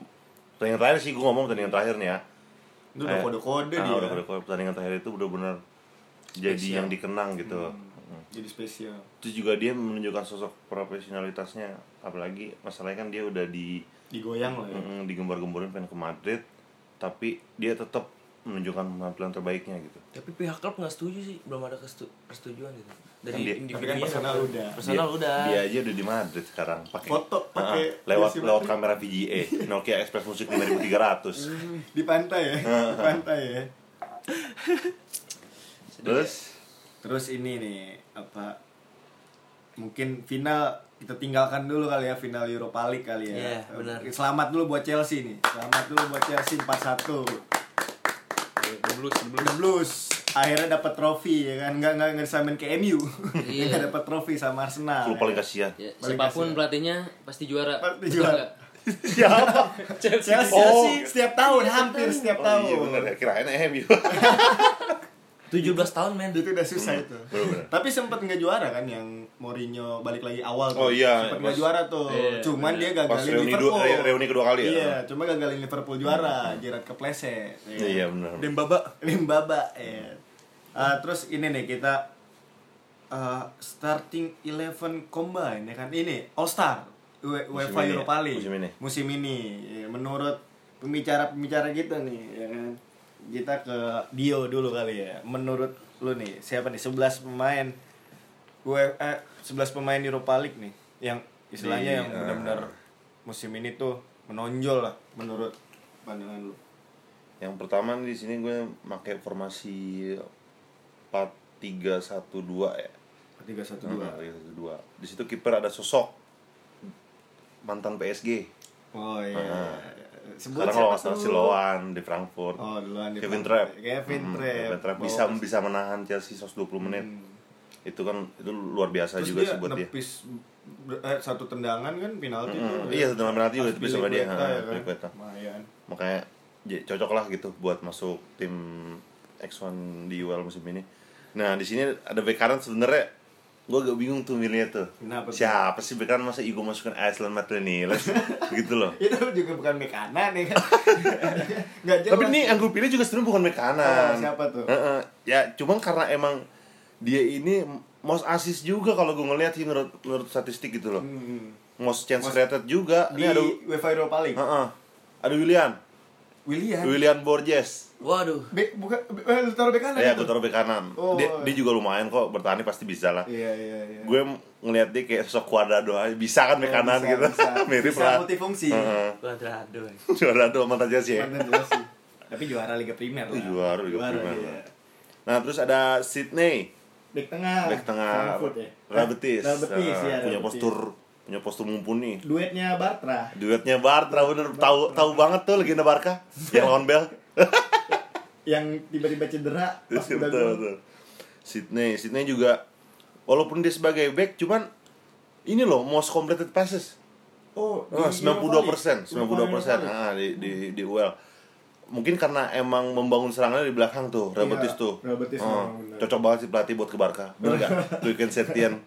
Speaker 2: pertandingan terakhir sih gue ngomong pertandingan terakhir nih ya
Speaker 1: Itu udah
Speaker 2: Kayak-
Speaker 1: kode-kode
Speaker 2: ah,
Speaker 1: dia.
Speaker 2: udah kode-kode pertandingan terakhir itu benar-benar jadi yang dikenang gitu Hmm.
Speaker 1: Jadi spesial.
Speaker 2: terus juga dia menunjukkan sosok profesionalitasnya apalagi masalahnya kan dia udah di
Speaker 1: Digoyang lah ya.
Speaker 2: mm, digembar-gemborin pengen ke Madrid tapi dia tetap menunjukkan penampilan terbaiknya gitu
Speaker 3: tapi pihak klub nggak setuju sih belum ada kesetu- persetujuan gitu
Speaker 2: Kan dia-
Speaker 1: Tapi
Speaker 3: dari
Speaker 1: kan
Speaker 3: individunya
Speaker 1: personal udah.
Speaker 3: personal
Speaker 2: dia,
Speaker 3: udah
Speaker 2: dia aja udah di Madrid sekarang pakai
Speaker 1: Foto, pakai-
Speaker 2: Ah, lewat
Speaker 1: versi
Speaker 2: lewat
Speaker 1: Madrid.
Speaker 2: kamera VGA Nokia Express Music 5300
Speaker 1: Di pantai ya. Di pantai ya.
Speaker 2: terus
Speaker 1: Terus ini nih apa mungkin final kita tinggalkan dulu kali ya final Europa League kali ya.
Speaker 3: Iya, benar.
Speaker 1: Selamat dulu buat Chelsea nih. Selamat dulu buat Chelsea 4-1.
Speaker 4: Deblues,
Speaker 1: The
Speaker 4: deblues.
Speaker 1: Blues akhirnya dapat trofi ya kan nggak nggak nggak disamain ke MU nggak dapat trofi sama Arsenal
Speaker 2: Klub paling kasihan.
Speaker 4: Ya,
Speaker 1: Balik
Speaker 4: siapapun
Speaker 1: hasil.
Speaker 4: pelatihnya pasti juara.
Speaker 1: Pasti
Speaker 4: Betul
Speaker 1: juara.
Speaker 4: nggak?
Speaker 1: siapa
Speaker 4: Chelsea.
Speaker 1: Chelsea
Speaker 2: Oh.
Speaker 1: Chelsea setiap tahun hampir setiap
Speaker 2: Oh iya
Speaker 1: tahun
Speaker 2: bener ya, kirain MU
Speaker 3: 17 tahun men
Speaker 1: itu udah susah itu
Speaker 2: bener-bener.
Speaker 1: tapi sempet nggak juara kan yang Mourinho balik lagi awal tuh
Speaker 2: Oh iya,
Speaker 1: sempet
Speaker 2: pas-
Speaker 1: nggak juara tuh
Speaker 4: iya,
Speaker 1: cuman dia
Speaker 2: Pas
Speaker 1: gagalin
Speaker 2: reuni,
Speaker 1: Liverpool
Speaker 2: dua, re- reuni kedua kali ya Hmm.
Speaker 1: iya cuma gagalin Liverpool juara Gerrard kepleset ya kan?
Speaker 2: Iya bener
Speaker 3: Dembaba
Speaker 1: Limbaba ya. Ah, terus ini nih kita ah, starting 11 combine ya kan ini All Star U- E-, UEFA
Speaker 2: ini ya?
Speaker 1: Europa League
Speaker 2: Musim ini?
Speaker 1: musim ini ya, menurut pembicara-pembicara kita nih ya kan kita ke Dio dulu kali ya menurut lu nih siapa nih 11 pemain UEFA 11 pemain Europa League nih yang istilahnya
Speaker 2: Di,
Speaker 1: yang benar-benar musim ini tuh menonjol lah menurut pandangan lu
Speaker 2: Yang pertama nih di sini gue pakai formasi 4312 ya.
Speaker 1: 3 1 2
Speaker 2: 3 Di situ kiper ada sosok mantan PSG.
Speaker 1: Oh iya.
Speaker 2: Ah.
Speaker 1: Sebut
Speaker 2: Sekarang
Speaker 1: siapa
Speaker 2: kalau nggak salah
Speaker 1: tuh?
Speaker 2: Siloan di Frankfurt.
Speaker 1: Oh, duluan di
Speaker 2: Kevin
Speaker 1: Frankfurt.
Speaker 2: Trapp.
Speaker 1: Kevin
Speaker 2: Mm,
Speaker 1: Trapp.
Speaker 2: Kevin Trapp bisa bisa menahan Chelsea 120 menit. Itu kan itu luar biasa
Speaker 1: Hmm. Terus
Speaker 2: juga
Speaker 1: dia
Speaker 2: sih buat dia.
Speaker 1: nepis ber- eh, satu tendangan kan penalti tuh.
Speaker 2: Mm, iya, tendangan penalti juga
Speaker 1: Pas
Speaker 2: ditepis
Speaker 1: Billy
Speaker 2: sama dia. Hmm,
Speaker 1: Guetta ya
Speaker 2: Ha,
Speaker 1: kan?
Speaker 2: Billy Guetta.
Speaker 1: Lumayan.
Speaker 2: makanya j- cocok lah gitu buat masuk tim X1 di UL musim ini. Nah di sini ada bekaran sebenarnya gue agak bingung tuh milihnya tuh.
Speaker 1: Kenapa tuh?
Speaker 2: Siapa sih bekaran masa Igo masukin Iceland Matriniles gitu loh.
Speaker 1: Itu juga bukan bek kanan ya kan. Enggak jelas.
Speaker 2: Tapi ini yang gue pilih juga sebenarnya bukan bek kanan.
Speaker 1: Oh, siapa tuh?
Speaker 2: Heeh. Ya cuman karena emang dia ini most assist juga kalau gue ngeliat sih menurut menurut statistik gitu loh.
Speaker 1: Hmm.
Speaker 2: Most chance
Speaker 1: Most-
Speaker 2: created juga.
Speaker 1: di
Speaker 2: Ini ada
Speaker 1: UEFA Europa League.
Speaker 2: Heeh. ada William,
Speaker 1: William.
Speaker 2: William Borges.
Speaker 3: Waduh
Speaker 1: Bek bukan be- eh, lu taruh bek kanan.
Speaker 2: Iya,
Speaker 1: itu?
Speaker 2: gue taruh bek kanan.
Speaker 1: Oh.
Speaker 2: dia, dia juga lumayan kok bertani pasti bisa lah.
Speaker 1: Iya iya iya.
Speaker 2: Gue m- ngeliat dia kayak sosok Cuadrado aja bisa kan bek
Speaker 1: Oh,
Speaker 2: kanan
Speaker 1: Bisa,
Speaker 2: gitu.
Speaker 1: bisa.
Speaker 2: Mirip
Speaker 1: Bisa iya.
Speaker 2: lah.
Speaker 1: multifungsi.
Speaker 2: Heeh.
Speaker 3: Quadrado ya.
Speaker 2: Cuadrado sama Tajas ya.
Speaker 1: Mantan jelas sih. Tapi juara Liga Primer lah.
Speaker 2: Oh, Juara Liga Primer
Speaker 1: iya.
Speaker 2: lah. Nah, terus ada Sydney,
Speaker 1: Bek tengah.
Speaker 2: bek tengah
Speaker 1: Ah, Frankfurt ya.
Speaker 2: Rabetis.
Speaker 1: Real Betis,
Speaker 2: Nah,
Speaker 1: ya, Real
Speaker 2: punya
Speaker 1: Betis.
Speaker 2: postur punya postur mumpuni.
Speaker 1: duetnya Bartra.
Speaker 2: Duetnya Bartra bener tahu tahu banget tuh legenda Barca yang lawan Bel.
Speaker 1: yang tiba-tiba cedera pas
Speaker 2: Iya, betul,
Speaker 1: udah
Speaker 2: betul,
Speaker 1: gol.
Speaker 2: betul. Sydney, Sydney juga walaupun dia sebagai back cuman ini loh most completed passes.
Speaker 1: Oh, di
Speaker 2: Oh, 92 persen,
Speaker 1: Europa
Speaker 2: 92 persen.
Speaker 1: League.
Speaker 2: Ah, di di di UL. Mungkin karena emang membangun serangannya di belakang tuh, Real
Speaker 1: Iya,
Speaker 2: Betis tuh.
Speaker 1: Real Betis
Speaker 2: Ah,
Speaker 1: memang benar.
Speaker 2: cocok banget sih pelatih buat ke Barca. Bener gak? Luiken Setien.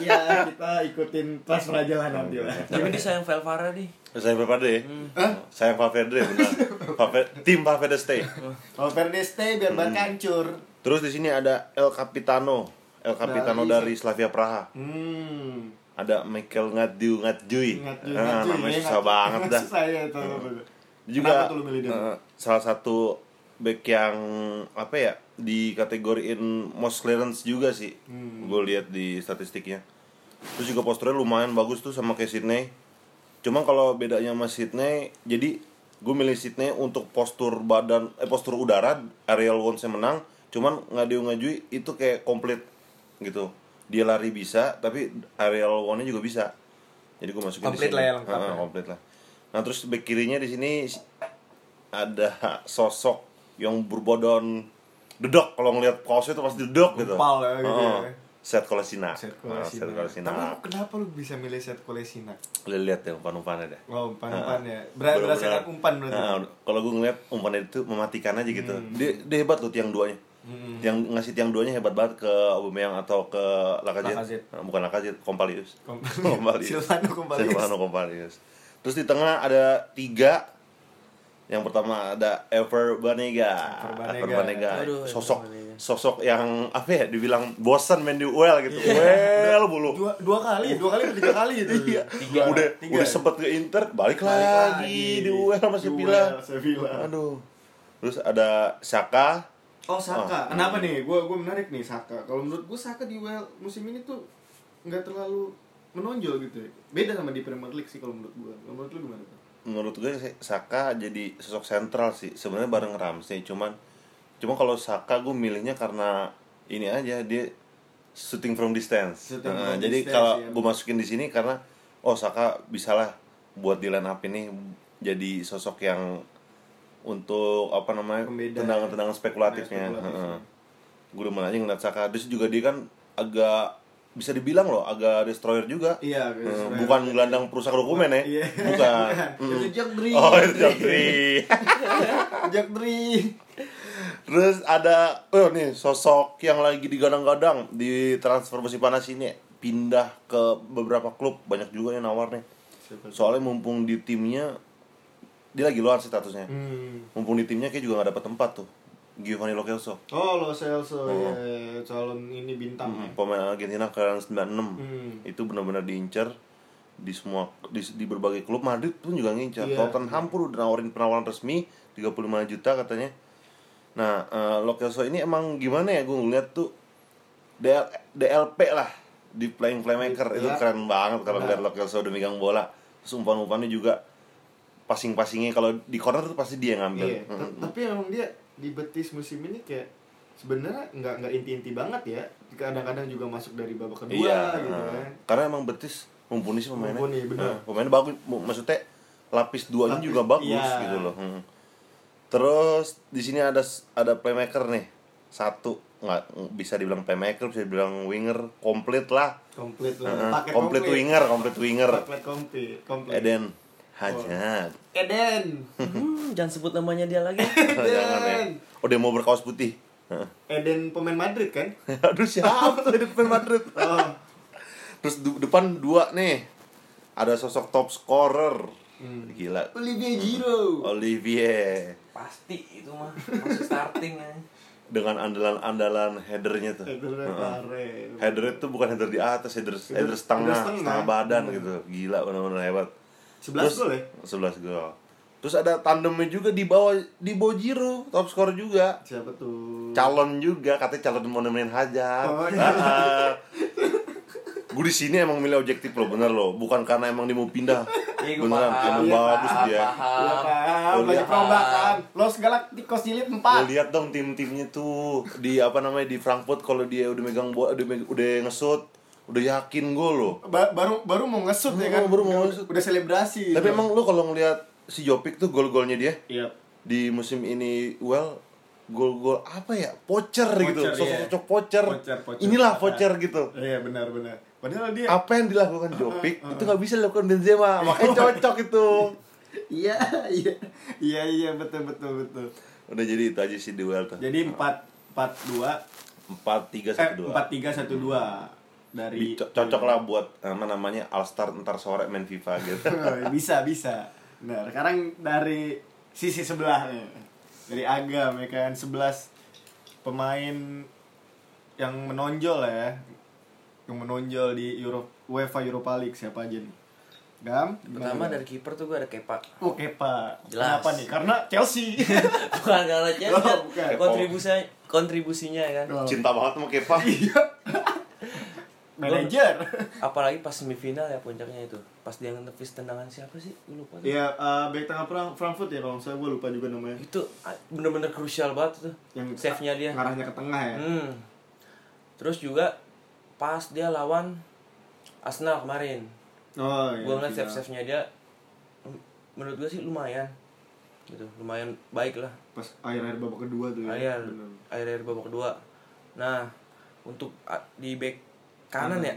Speaker 1: Iya, kita ikutin transfer aja lah nanti lah.
Speaker 3: Tapi dia sayang Velvara nih
Speaker 2: Sayang Valverde.
Speaker 1: Hmm.
Speaker 2: Sayang Valverde benar. Valverde, tim Valverde stay.
Speaker 1: Kalau Verde stay biar Barca
Speaker 2: Hmm.
Speaker 1: hancur.
Speaker 2: Terus di sini ada El Capitano. El Capitano dari,
Speaker 1: Dari-
Speaker 2: Slavia Praha.
Speaker 1: Hmm.
Speaker 2: Ada Michael Ngadiu Ngadjui.
Speaker 1: Ingat juga
Speaker 2: Ah,
Speaker 1: cuy,
Speaker 2: namanya
Speaker 1: ingat
Speaker 2: susah
Speaker 1: juga.
Speaker 2: banget dah. Hmm.
Speaker 1: Susah ya itu.
Speaker 2: juga
Speaker 1: Kenapa tuh lu milih dia?
Speaker 2: eh, salah satu back yang apa ya dikategoriin most clearance juga sih
Speaker 1: Hmm.
Speaker 2: gue lihat di statistiknya terus juga posturnya lumayan bagus tuh sama kayak Sydney cuman kalau bedanya sama Sydney jadi gue milih Sydney untuk postur badan eh postur udara aerial Wons yang menang cuman ngadiu ngajui itu kayak komplit gitu dia lari bisa tapi aerial Wons-nya juga bisa jadi gue masukin
Speaker 1: Komplit
Speaker 2: di sini.
Speaker 1: lah ya, lengkap
Speaker 2: Heeh,
Speaker 1: ya.
Speaker 2: komplit lah nah terus back kirinya di sini ada sosok yang berbodon dedok kalau ngelihat kaosnya itu pasti dedok gitu
Speaker 1: Gempal ya, gitu
Speaker 2: Heeh.
Speaker 1: ya.
Speaker 2: Set Kolesina.
Speaker 1: Set
Speaker 2: Heeh, Ah, Set Kolesina.
Speaker 1: Kolesina. Tapi lu kenapa lu bisa milih Set Kolesina?
Speaker 2: Lu lihat ya umpan-umpannya deh. Ah,
Speaker 1: Oh, umpan-umpan ya. Ber- Berdasarkan umpan berarti. Hmm.
Speaker 2: Nah, kalau gue ngeliat umpannya itu mematikan aja gitu. Dia, dia hebat loh tiang duanya. Yang ngasih tiang duanya hebat banget ke Aubameyang atau ke
Speaker 1: Lacazette.
Speaker 2: Lacazette. Nah, bukan Lacazette, Kompalius.
Speaker 1: Kom-
Speaker 2: Kompalius.
Speaker 1: Silvano Kompalius.
Speaker 2: Silvano Kompalius. Terus di tengah ada tiga yang pertama ada Ever Banega.
Speaker 1: Ever Banega.
Speaker 3: Aduh, Ever
Speaker 2: sosok
Speaker 3: Banega.
Speaker 2: sosok yang apa ya dibilang bosan main di UEL gitu. UEL mulu.
Speaker 1: Iya. Dua, dua kali, dua kali atau tiga kali gitu.
Speaker 2: Iya.
Speaker 1: Tiga.
Speaker 2: udah
Speaker 1: Tiga.
Speaker 2: udah sempet ke Inter, balik,
Speaker 1: Balik
Speaker 2: lagi, di UEL sama
Speaker 1: Di
Speaker 2: Sevilla.
Speaker 1: UEL, Sevilla.
Speaker 2: Aduh. Terus ada Saka.
Speaker 1: Oh
Speaker 2: Ah.
Speaker 1: Saka, kenapa nih? Gue gue menarik nih Saka. Kalau menurut gue Saka di UEL musim ini tuh nggak terlalu menonjol gitu. ya. Beda sama di Premier League sih kalau menurut gue. Kalau menurut lu gimana? tuh?
Speaker 2: Menurut gue Saka jadi sosok sentral sih. Sebenarnya bareng Ramsey, cuman cuma kalau Saka gue milihnya karena ini aja dia shooting from distance.
Speaker 1: Shooting
Speaker 2: Nah,
Speaker 1: from
Speaker 2: jadi
Speaker 1: distance,
Speaker 2: kalau
Speaker 1: ya.
Speaker 2: gue masukin di sini karena oh Saka bisalah buat di line up ini jadi sosok yang untuk apa namanya
Speaker 1: Pembeda.
Speaker 2: tendangan-tendangan spekulatifnya.
Speaker 1: Spekulatifnya.
Speaker 2: Heeh. gue udah nanya ngeliat Saka terus juga dia kan agak bisa dibilang loh agak destroyer juga
Speaker 1: Iya, agak
Speaker 2: Eh,
Speaker 1: destroyer.
Speaker 2: bukan gelandang perusak dokumen ya
Speaker 1: Iya.
Speaker 2: bukan
Speaker 1: Itu
Speaker 2: Mm.
Speaker 1: Jack Dri.
Speaker 2: oh itu Jack Dri.
Speaker 1: Jack Dri.
Speaker 2: terus ada oh nih sosok yang lagi digadang-gadang di transfer musim panas ini eh? pindah ke beberapa klub banyak juga yang nawar nih soalnya mumpung di timnya dia lagi luar sih statusnya
Speaker 1: Hmm.
Speaker 2: mumpung di timnya kayak juga nggak dapat tempat tuh Giovanni Lo Celso
Speaker 1: Oh, Lo Celso ya, calon ini bintang.
Speaker 2: Mm, pemain Argentina kelahiran 96
Speaker 1: ya. Hmm.
Speaker 2: itu benar-benar diincar di semua di, di berbagai klub Madrid pun juga ngincar
Speaker 1: Iya.
Speaker 2: Tottenham pun udah nawarin penawaran resmi 35 juta katanya nah eh, Lo Celso ini emang gimana ya gue ngeliat tuh DL, DLP lah di playing playmaker itu
Speaker 1: Iya.
Speaker 2: keren banget kalau ngeliat Lo Celso udah megang bola terus umpan-umpannya juga passing-passingnya kalau di corner tuh pasti dia yang ngambil
Speaker 1: Iya.
Speaker 2: Mm,
Speaker 1: ta-
Speaker 2: mm.
Speaker 1: Tapi emang dia di betis musim ini kayak sebenarnya nggak nggak inti-inti banget ya. Kadang-kadang juga masuk dari babak kedua gitu
Speaker 2: nah.
Speaker 1: kan.
Speaker 2: Karena emang Betis mumpuni sih pemainnya.
Speaker 1: Mumpuni, bener.
Speaker 2: Nah, pemainnya bagus, mu- maksudnya lapis duanya
Speaker 1: Lapis,
Speaker 2: juga bagus
Speaker 1: iya.
Speaker 2: gitu loh. Hmm. Terus di sini ada s- ada playmaker nih. Satu nggak bisa dibilang playmaker, bisa dibilang winger, komplit lah.
Speaker 1: Komplit lah.
Speaker 2: Heeh,
Speaker 1: Paket
Speaker 2: komplit winger, komplit winger.
Speaker 1: Paket komplit. Komplit. Oh.
Speaker 2: Eden Hajat.
Speaker 1: Eden.
Speaker 3: Hmm, jangan sebut namanya dia lagi.
Speaker 2: Jangan ya.
Speaker 1: Eden.
Speaker 2: Oh, dia mau berkaos putih. Heeh.
Speaker 1: Eden pemain Madrid kan?
Speaker 2: Aduh siapa di depan Madrid?
Speaker 1: Oh.
Speaker 2: Terus du- depan dua nih. Ada sosok top scorer.
Speaker 1: Hmm.
Speaker 2: Gila.
Speaker 1: Olivier
Speaker 2: Oh.
Speaker 1: Giroud.
Speaker 2: Olivier
Speaker 3: Pasti itu mah masuk starting ya.
Speaker 2: dengan andalan-andalan headernya tuh.
Speaker 1: Headernya keren.
Speaker 2: Header itu bukan header di atas, header header
Speaker 1: Header
Speaker 2: setengah,
Speaker 1: setengah.
Speaker 2: setengah badan gitu. Gila benar-benar hebat.
Speaker 1: 11 gol ya?
Speaker 2: 11 gol. Terus ada tandemnya juga di bawah di Bojiro, top skor juga.
Speaker 1: Siapa tuh?
Speaker 2: Calon juga, katanya calon mau nemenin hajar.
Speaker 1: Oh, iya.
Speaker 2: gue di sini emang milih objektif loh, bener loh. Bukan karena emang dia mau pindah.
Speaker 3: Iya, gua
Speaker 2: Beneran,
Speaker 3: paham,
Speaker 2: emang
Speaker 3: iya,
Speaker 2: bagus
Speaker 3: paham,
Speaker 2: dia.
Speaker 1: Iya,
Speaker 3: paham.
Speaker 1: Pak.
Speaker 2: Olivier.
Speaker 1: Banyak perombakan. Los Galacticos di lead 4.
Speaker 2: Lu lihat dong tim-timnya tuh di apa namanya di Frankfurt kalau dia udah megang bola, udah, meg- udah ngesut, udah yakin gol loh.
Speaker 1: Ba- baru baru mau ngesut ya
Speaker 2: Oh,
Speaker 1: kan
Speaker 2: baru mau
Speaker 1: Udah-
Speaker 2: ngesut.
Speaker 1: udah selebrasi
Speaker 2: Tapi emang lu kalau ngelihat si Jopik tuh gol-golnya dia
Speaker 1: iya
Speaker 2: di musim ini well gol-gol apa ya? Pocher, gitu.
Speaker 1: Pocher, iya.
Speaker 2: Sosok-sosok pocher.
Speaker 1: Pocher, pocher.
Speaker 2: Inilah pocher gitu.
Speaker 1: iya benar benar padahal dia
Speaker 2: Apa yang dilakukan Jopik itu nggak bisa dilakukan Benzema. Makanya cocok itu.
Speaker 1: iya iya iya iya betul betul betul
Speaker 2: Udah jadi itu aja sih duel tuh.
Speaker 1: jadi empat empat dua
Speaker 2: 4 3
Speaker 1: eh
Speaker 2: 1 2.
Speaker 1: empat tiga satu dua dari
Speaker 2: Di- co- cocok lah buat apa namanya All Star ntar sore main FIFA gitu.
Speaker 1: Oh, bisa bisa benar sekarang dari sisi sebelahnya dari agam ya kan sebelas pemain yang menonjol ya yang menonjol di Euro UEFA Europa League siapa aja nih Gam gimana,
Speaker 3: Pertama
Speaker 1: Gam?
Speaker 3: dari kiper tuh gue ada Kepa.
Speaker 1: Oke pak,
Speaker 3: Jelas.
Speaker 1: kenapa nih? Karena Chelsea.
Speaker 3: Bukan karena Chelsea,
Speaker 1: Oh, bukan. Oh.
Speaker 3: kontribusinya kontribusinya ya kan.
Speaker 2: Cinta banget sama Kepa.
Speaker 3: Iya.
Speaker 1: Manager.
Speaker 3: Apalagi pas semifinal ya puncaknya itu. Pas dia ngetepis tendangan siapa sih? Gue lupa. tuh.
Speaker 1: Iya, eh, back tengah perang Frankfurt ya kalau saya gue lupa juga namanya.
Speaker 3: Itu ah, bener-bener krusial banget tuh. save-nya dia.
Speaker 1: Ngarahnya ke tengah ya.
Speaker 3: Hmm. Terus juga pas dia lawan Arsenal kemarin.
Speaker 1: Oh iya.
Speaker 3: gue ngeliat
Speaker 1: tidak.
Speaker 3: save save nya dia mm, menurut gue sih lumayan gitu lumayan baik lah
Speaker 1: Pas akhir-akhir babak kedua tuh. ya.
Speaker 3: akhir
Speaker 1: Bener.
Speaker 3: akhir akhir babak kedua nah untuk a- di back kanan ya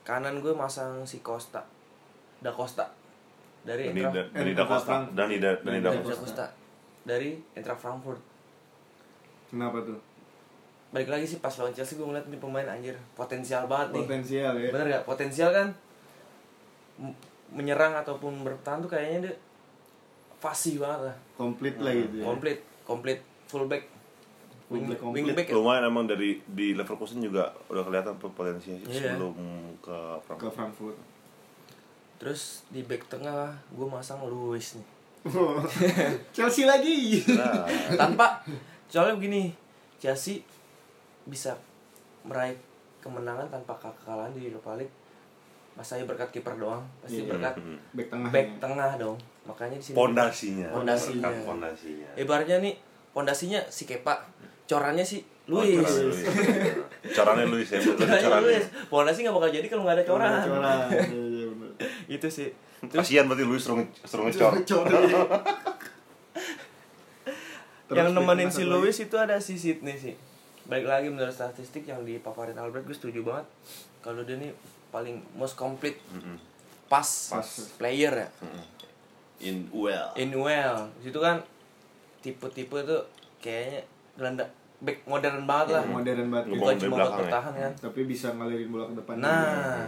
Speaker 3: kanan gue masang si Costa da Costa dari
Speaker 2: Dani
Speaker 3: Intra
Speaker 2: Da-
Speaker 1: Eh,
Speaker 2: Dani Da
Speaker 3: Iya.
Speaker 1: Costa
Speaker 2: Costa.
Speaker 1: Frank.
Speaker 2: Dani Da- Dani Da
Speaker 1: Dani
Speaker 2: Costa.
Speaker 1: Da
Speaker 3: Costa dari Intra Frankfurt
Speaker 1: Kenapa tuh?
Speaker 3: balik lagi sih pas lawan Chelsea gue ngeliat nih pemain anjir potensial banget nih
Speaker 1: Potensial ya.
Speaker 3: Bener gak? Potensial kan m- menyerang ataupun bertahan tuh kayaknya dia fasih banget lah.
Speaker 1: Komplit lah gitu ya.
Speaker 3: Komplit, komplit fullback. Wing,
Speaker 1: Komplit, komplit.
Speaker 3: wingback ya?
Speaker 2: lumayan emang dari di Leverkusen juga udah kelihatan potensinya sih
Speaker 3: Iya.
Speaker 2: sebelum ke
Speaker 1: Ke
Speaker 2: Frankfurt.
Speaker 1: Frankfurt.
Speaker 3: Terus di back tengah gue masang Luis nih.
Speaker 1: Chelsea lagi.
Speaker 2: Nah,
Speaker 3: Tanpa soalnya begini, Chelsea bisa meraih kemenangan tanpa kekalahan di Europa League. Masanya berkat kiper doang, pasti
Speaker 1: Iya.
Speaker 3: berkat
Speaker 1: back tengah. ya.
Speaker 3: back tengah dong. Makanya di sini
Speaker 2: pondasinya.
Speaker 3: Pondasinya.
Speaker 2: Berkat Pondasinya.
Speaker 3: Ibaratnya nih pondasinya si Kepa, corannya si
Speaker 2: Oh,
Speaker 3: Luis.
Speaker 2: corannya Luis. Caranya Luis ya, betul
Speaker 3: Corannya
Speaker 2: caranya.
Speaker 3: Luis. Pondasi nggak bakal jadi kalau nggak ada coran.
Speaker 1: Coran. Iya, iya, bener.
Speaker 3: Itu sih. Terus
Speaker 2: Kasihan berarti Luis seru nge- seru ngecor.
Speaker 1: Coran. Terus
Speaker 3: yang nemenin
Speaker 1: back
Speaker 3: si
Speaker 1: tengah satu
Speaker 3: Luis itu ada si Sidney sih. balik lagi menurut statistik yang dipaparin Albert gue setuju banget kalau dia nih paling most complete
Speaker 2: Mm-mm.
Speaker 3: pass, player ya
Speaker 2: Mm-mm. in well
Speaker 3: in well itu kan tipe-tipe tuh kayaknya Belanda back modern banget lah
Speaker 1: modern banget gitu.
Speaker 2: Ngebom
Speaker 3: bukan
Speaker 2: dari
Speaker 3: cuma buat
Speaker 2: belakang ya.
Speaker 3: bertahan kan
Speaker 1: tapi bisa ngalirin bola ke depan
Speaker 3: nah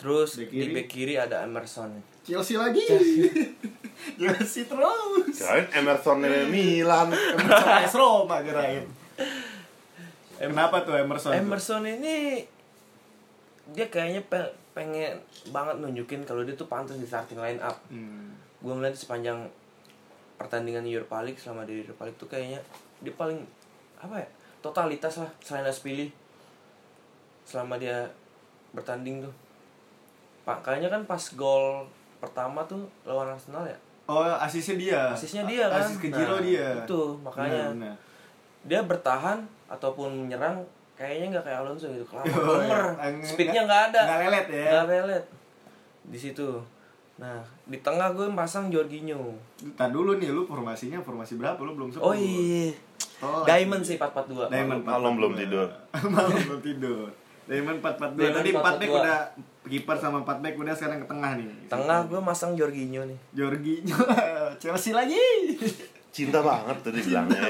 Speaker 3: terus
Speaker 1: Back
Speaker 3: di
Speaker 1: kiri.
Speaker 3: back kiri ada Emerson
Speaker 1: Chelsea lagi Chelsea terus
Speaker 2: Kirain Emerson dari Milan
Speaker 1: Emerson AS Roma kirain Kenapa tuh Emerson? tuh?
Speaker 3: Emerson ini dia kayaknya pe- pengen banget nunjukin kalau dia tuh pantas di starting line up
Speaker 1: Hmm.
Speaker 3: gue ngeliat sepanjang pertandingan Europa League selama di Europa League tuh kayaknya dia paling apa ya totalitas lah selain Aspili selama dia bertanding tuh pak kayaknya kan pas gol pertama tuh lawan Arsenal ya
Speaker 1: Oh, asisnya dia.
Speaker 3: Asisnya dia, kan?
Speaker 1: Asis ke Giro
Speaker 3: Nah,
Speaker 1: dia.
Speaker 3: itu,
Speaker 1: Benar,
Speaker 3: makanya.
Speaker 1: benar.
Speaker 3: dia bertahan ataupun menyerang kayaknya nggak kayak Alonso gitu
Speaker 1: Oh, iya.
Speaker 3: kelamaan
Speaker 1: Ang-
Speaker 3: speednya nggak ada
Speaker 1: nggak lelet ya.
Speaker 3: nggak lelet di situ nah di tengah gue pasang Jorginho
Speaker 1: Ntar dulu nih lu formasinya formasi berapa lu belum sebut.
Speaker 3: oh iya
Speaker 1: Oh,
Speaker 3: Diamond sih 442
Speaker 1: Diamond
Speaker 2: Malam belum tidur.
Speaker 1: Malam belum tidur. Diamond 442. Tadi 4
Speaker 3: Diamond
Speaker 1: back
Speaker 3: 442.
Speaker 1: udah kiper sama 4 back udah sekarang ke tengah nih.
Speaker 3: Tengah gue masang Jorginho nih.
Speaker 1: Jorginho Chelsea lagi.
Speaker 2: cinta banget tadi bilangnya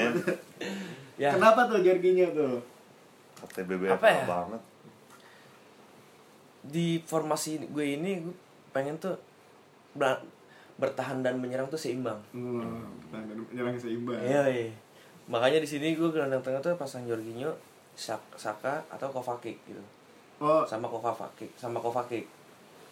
Speaker 3: Ya.
Speaker 1: Kenapa tuh Jorginho tuh?
Speaker 2: KTBB
Speaker 3: Apa ya?
Speaker 2: banget
Speaker 3: Di formasi gue ini gue pengen tuh bela- bertahan dan menyerang tuh seimbang.
Speaker 1: Hmm, pertahanan menyerang seimbang.
Speaker 3: Iya, iya. Makanya di sini gue gelandang tengah tuh pasang Jorginho, Sak- Saka atau Kovacic gitu.
Speaker 1: Oh,
Speaker 3: Sama Kovacic, sama Kovacic.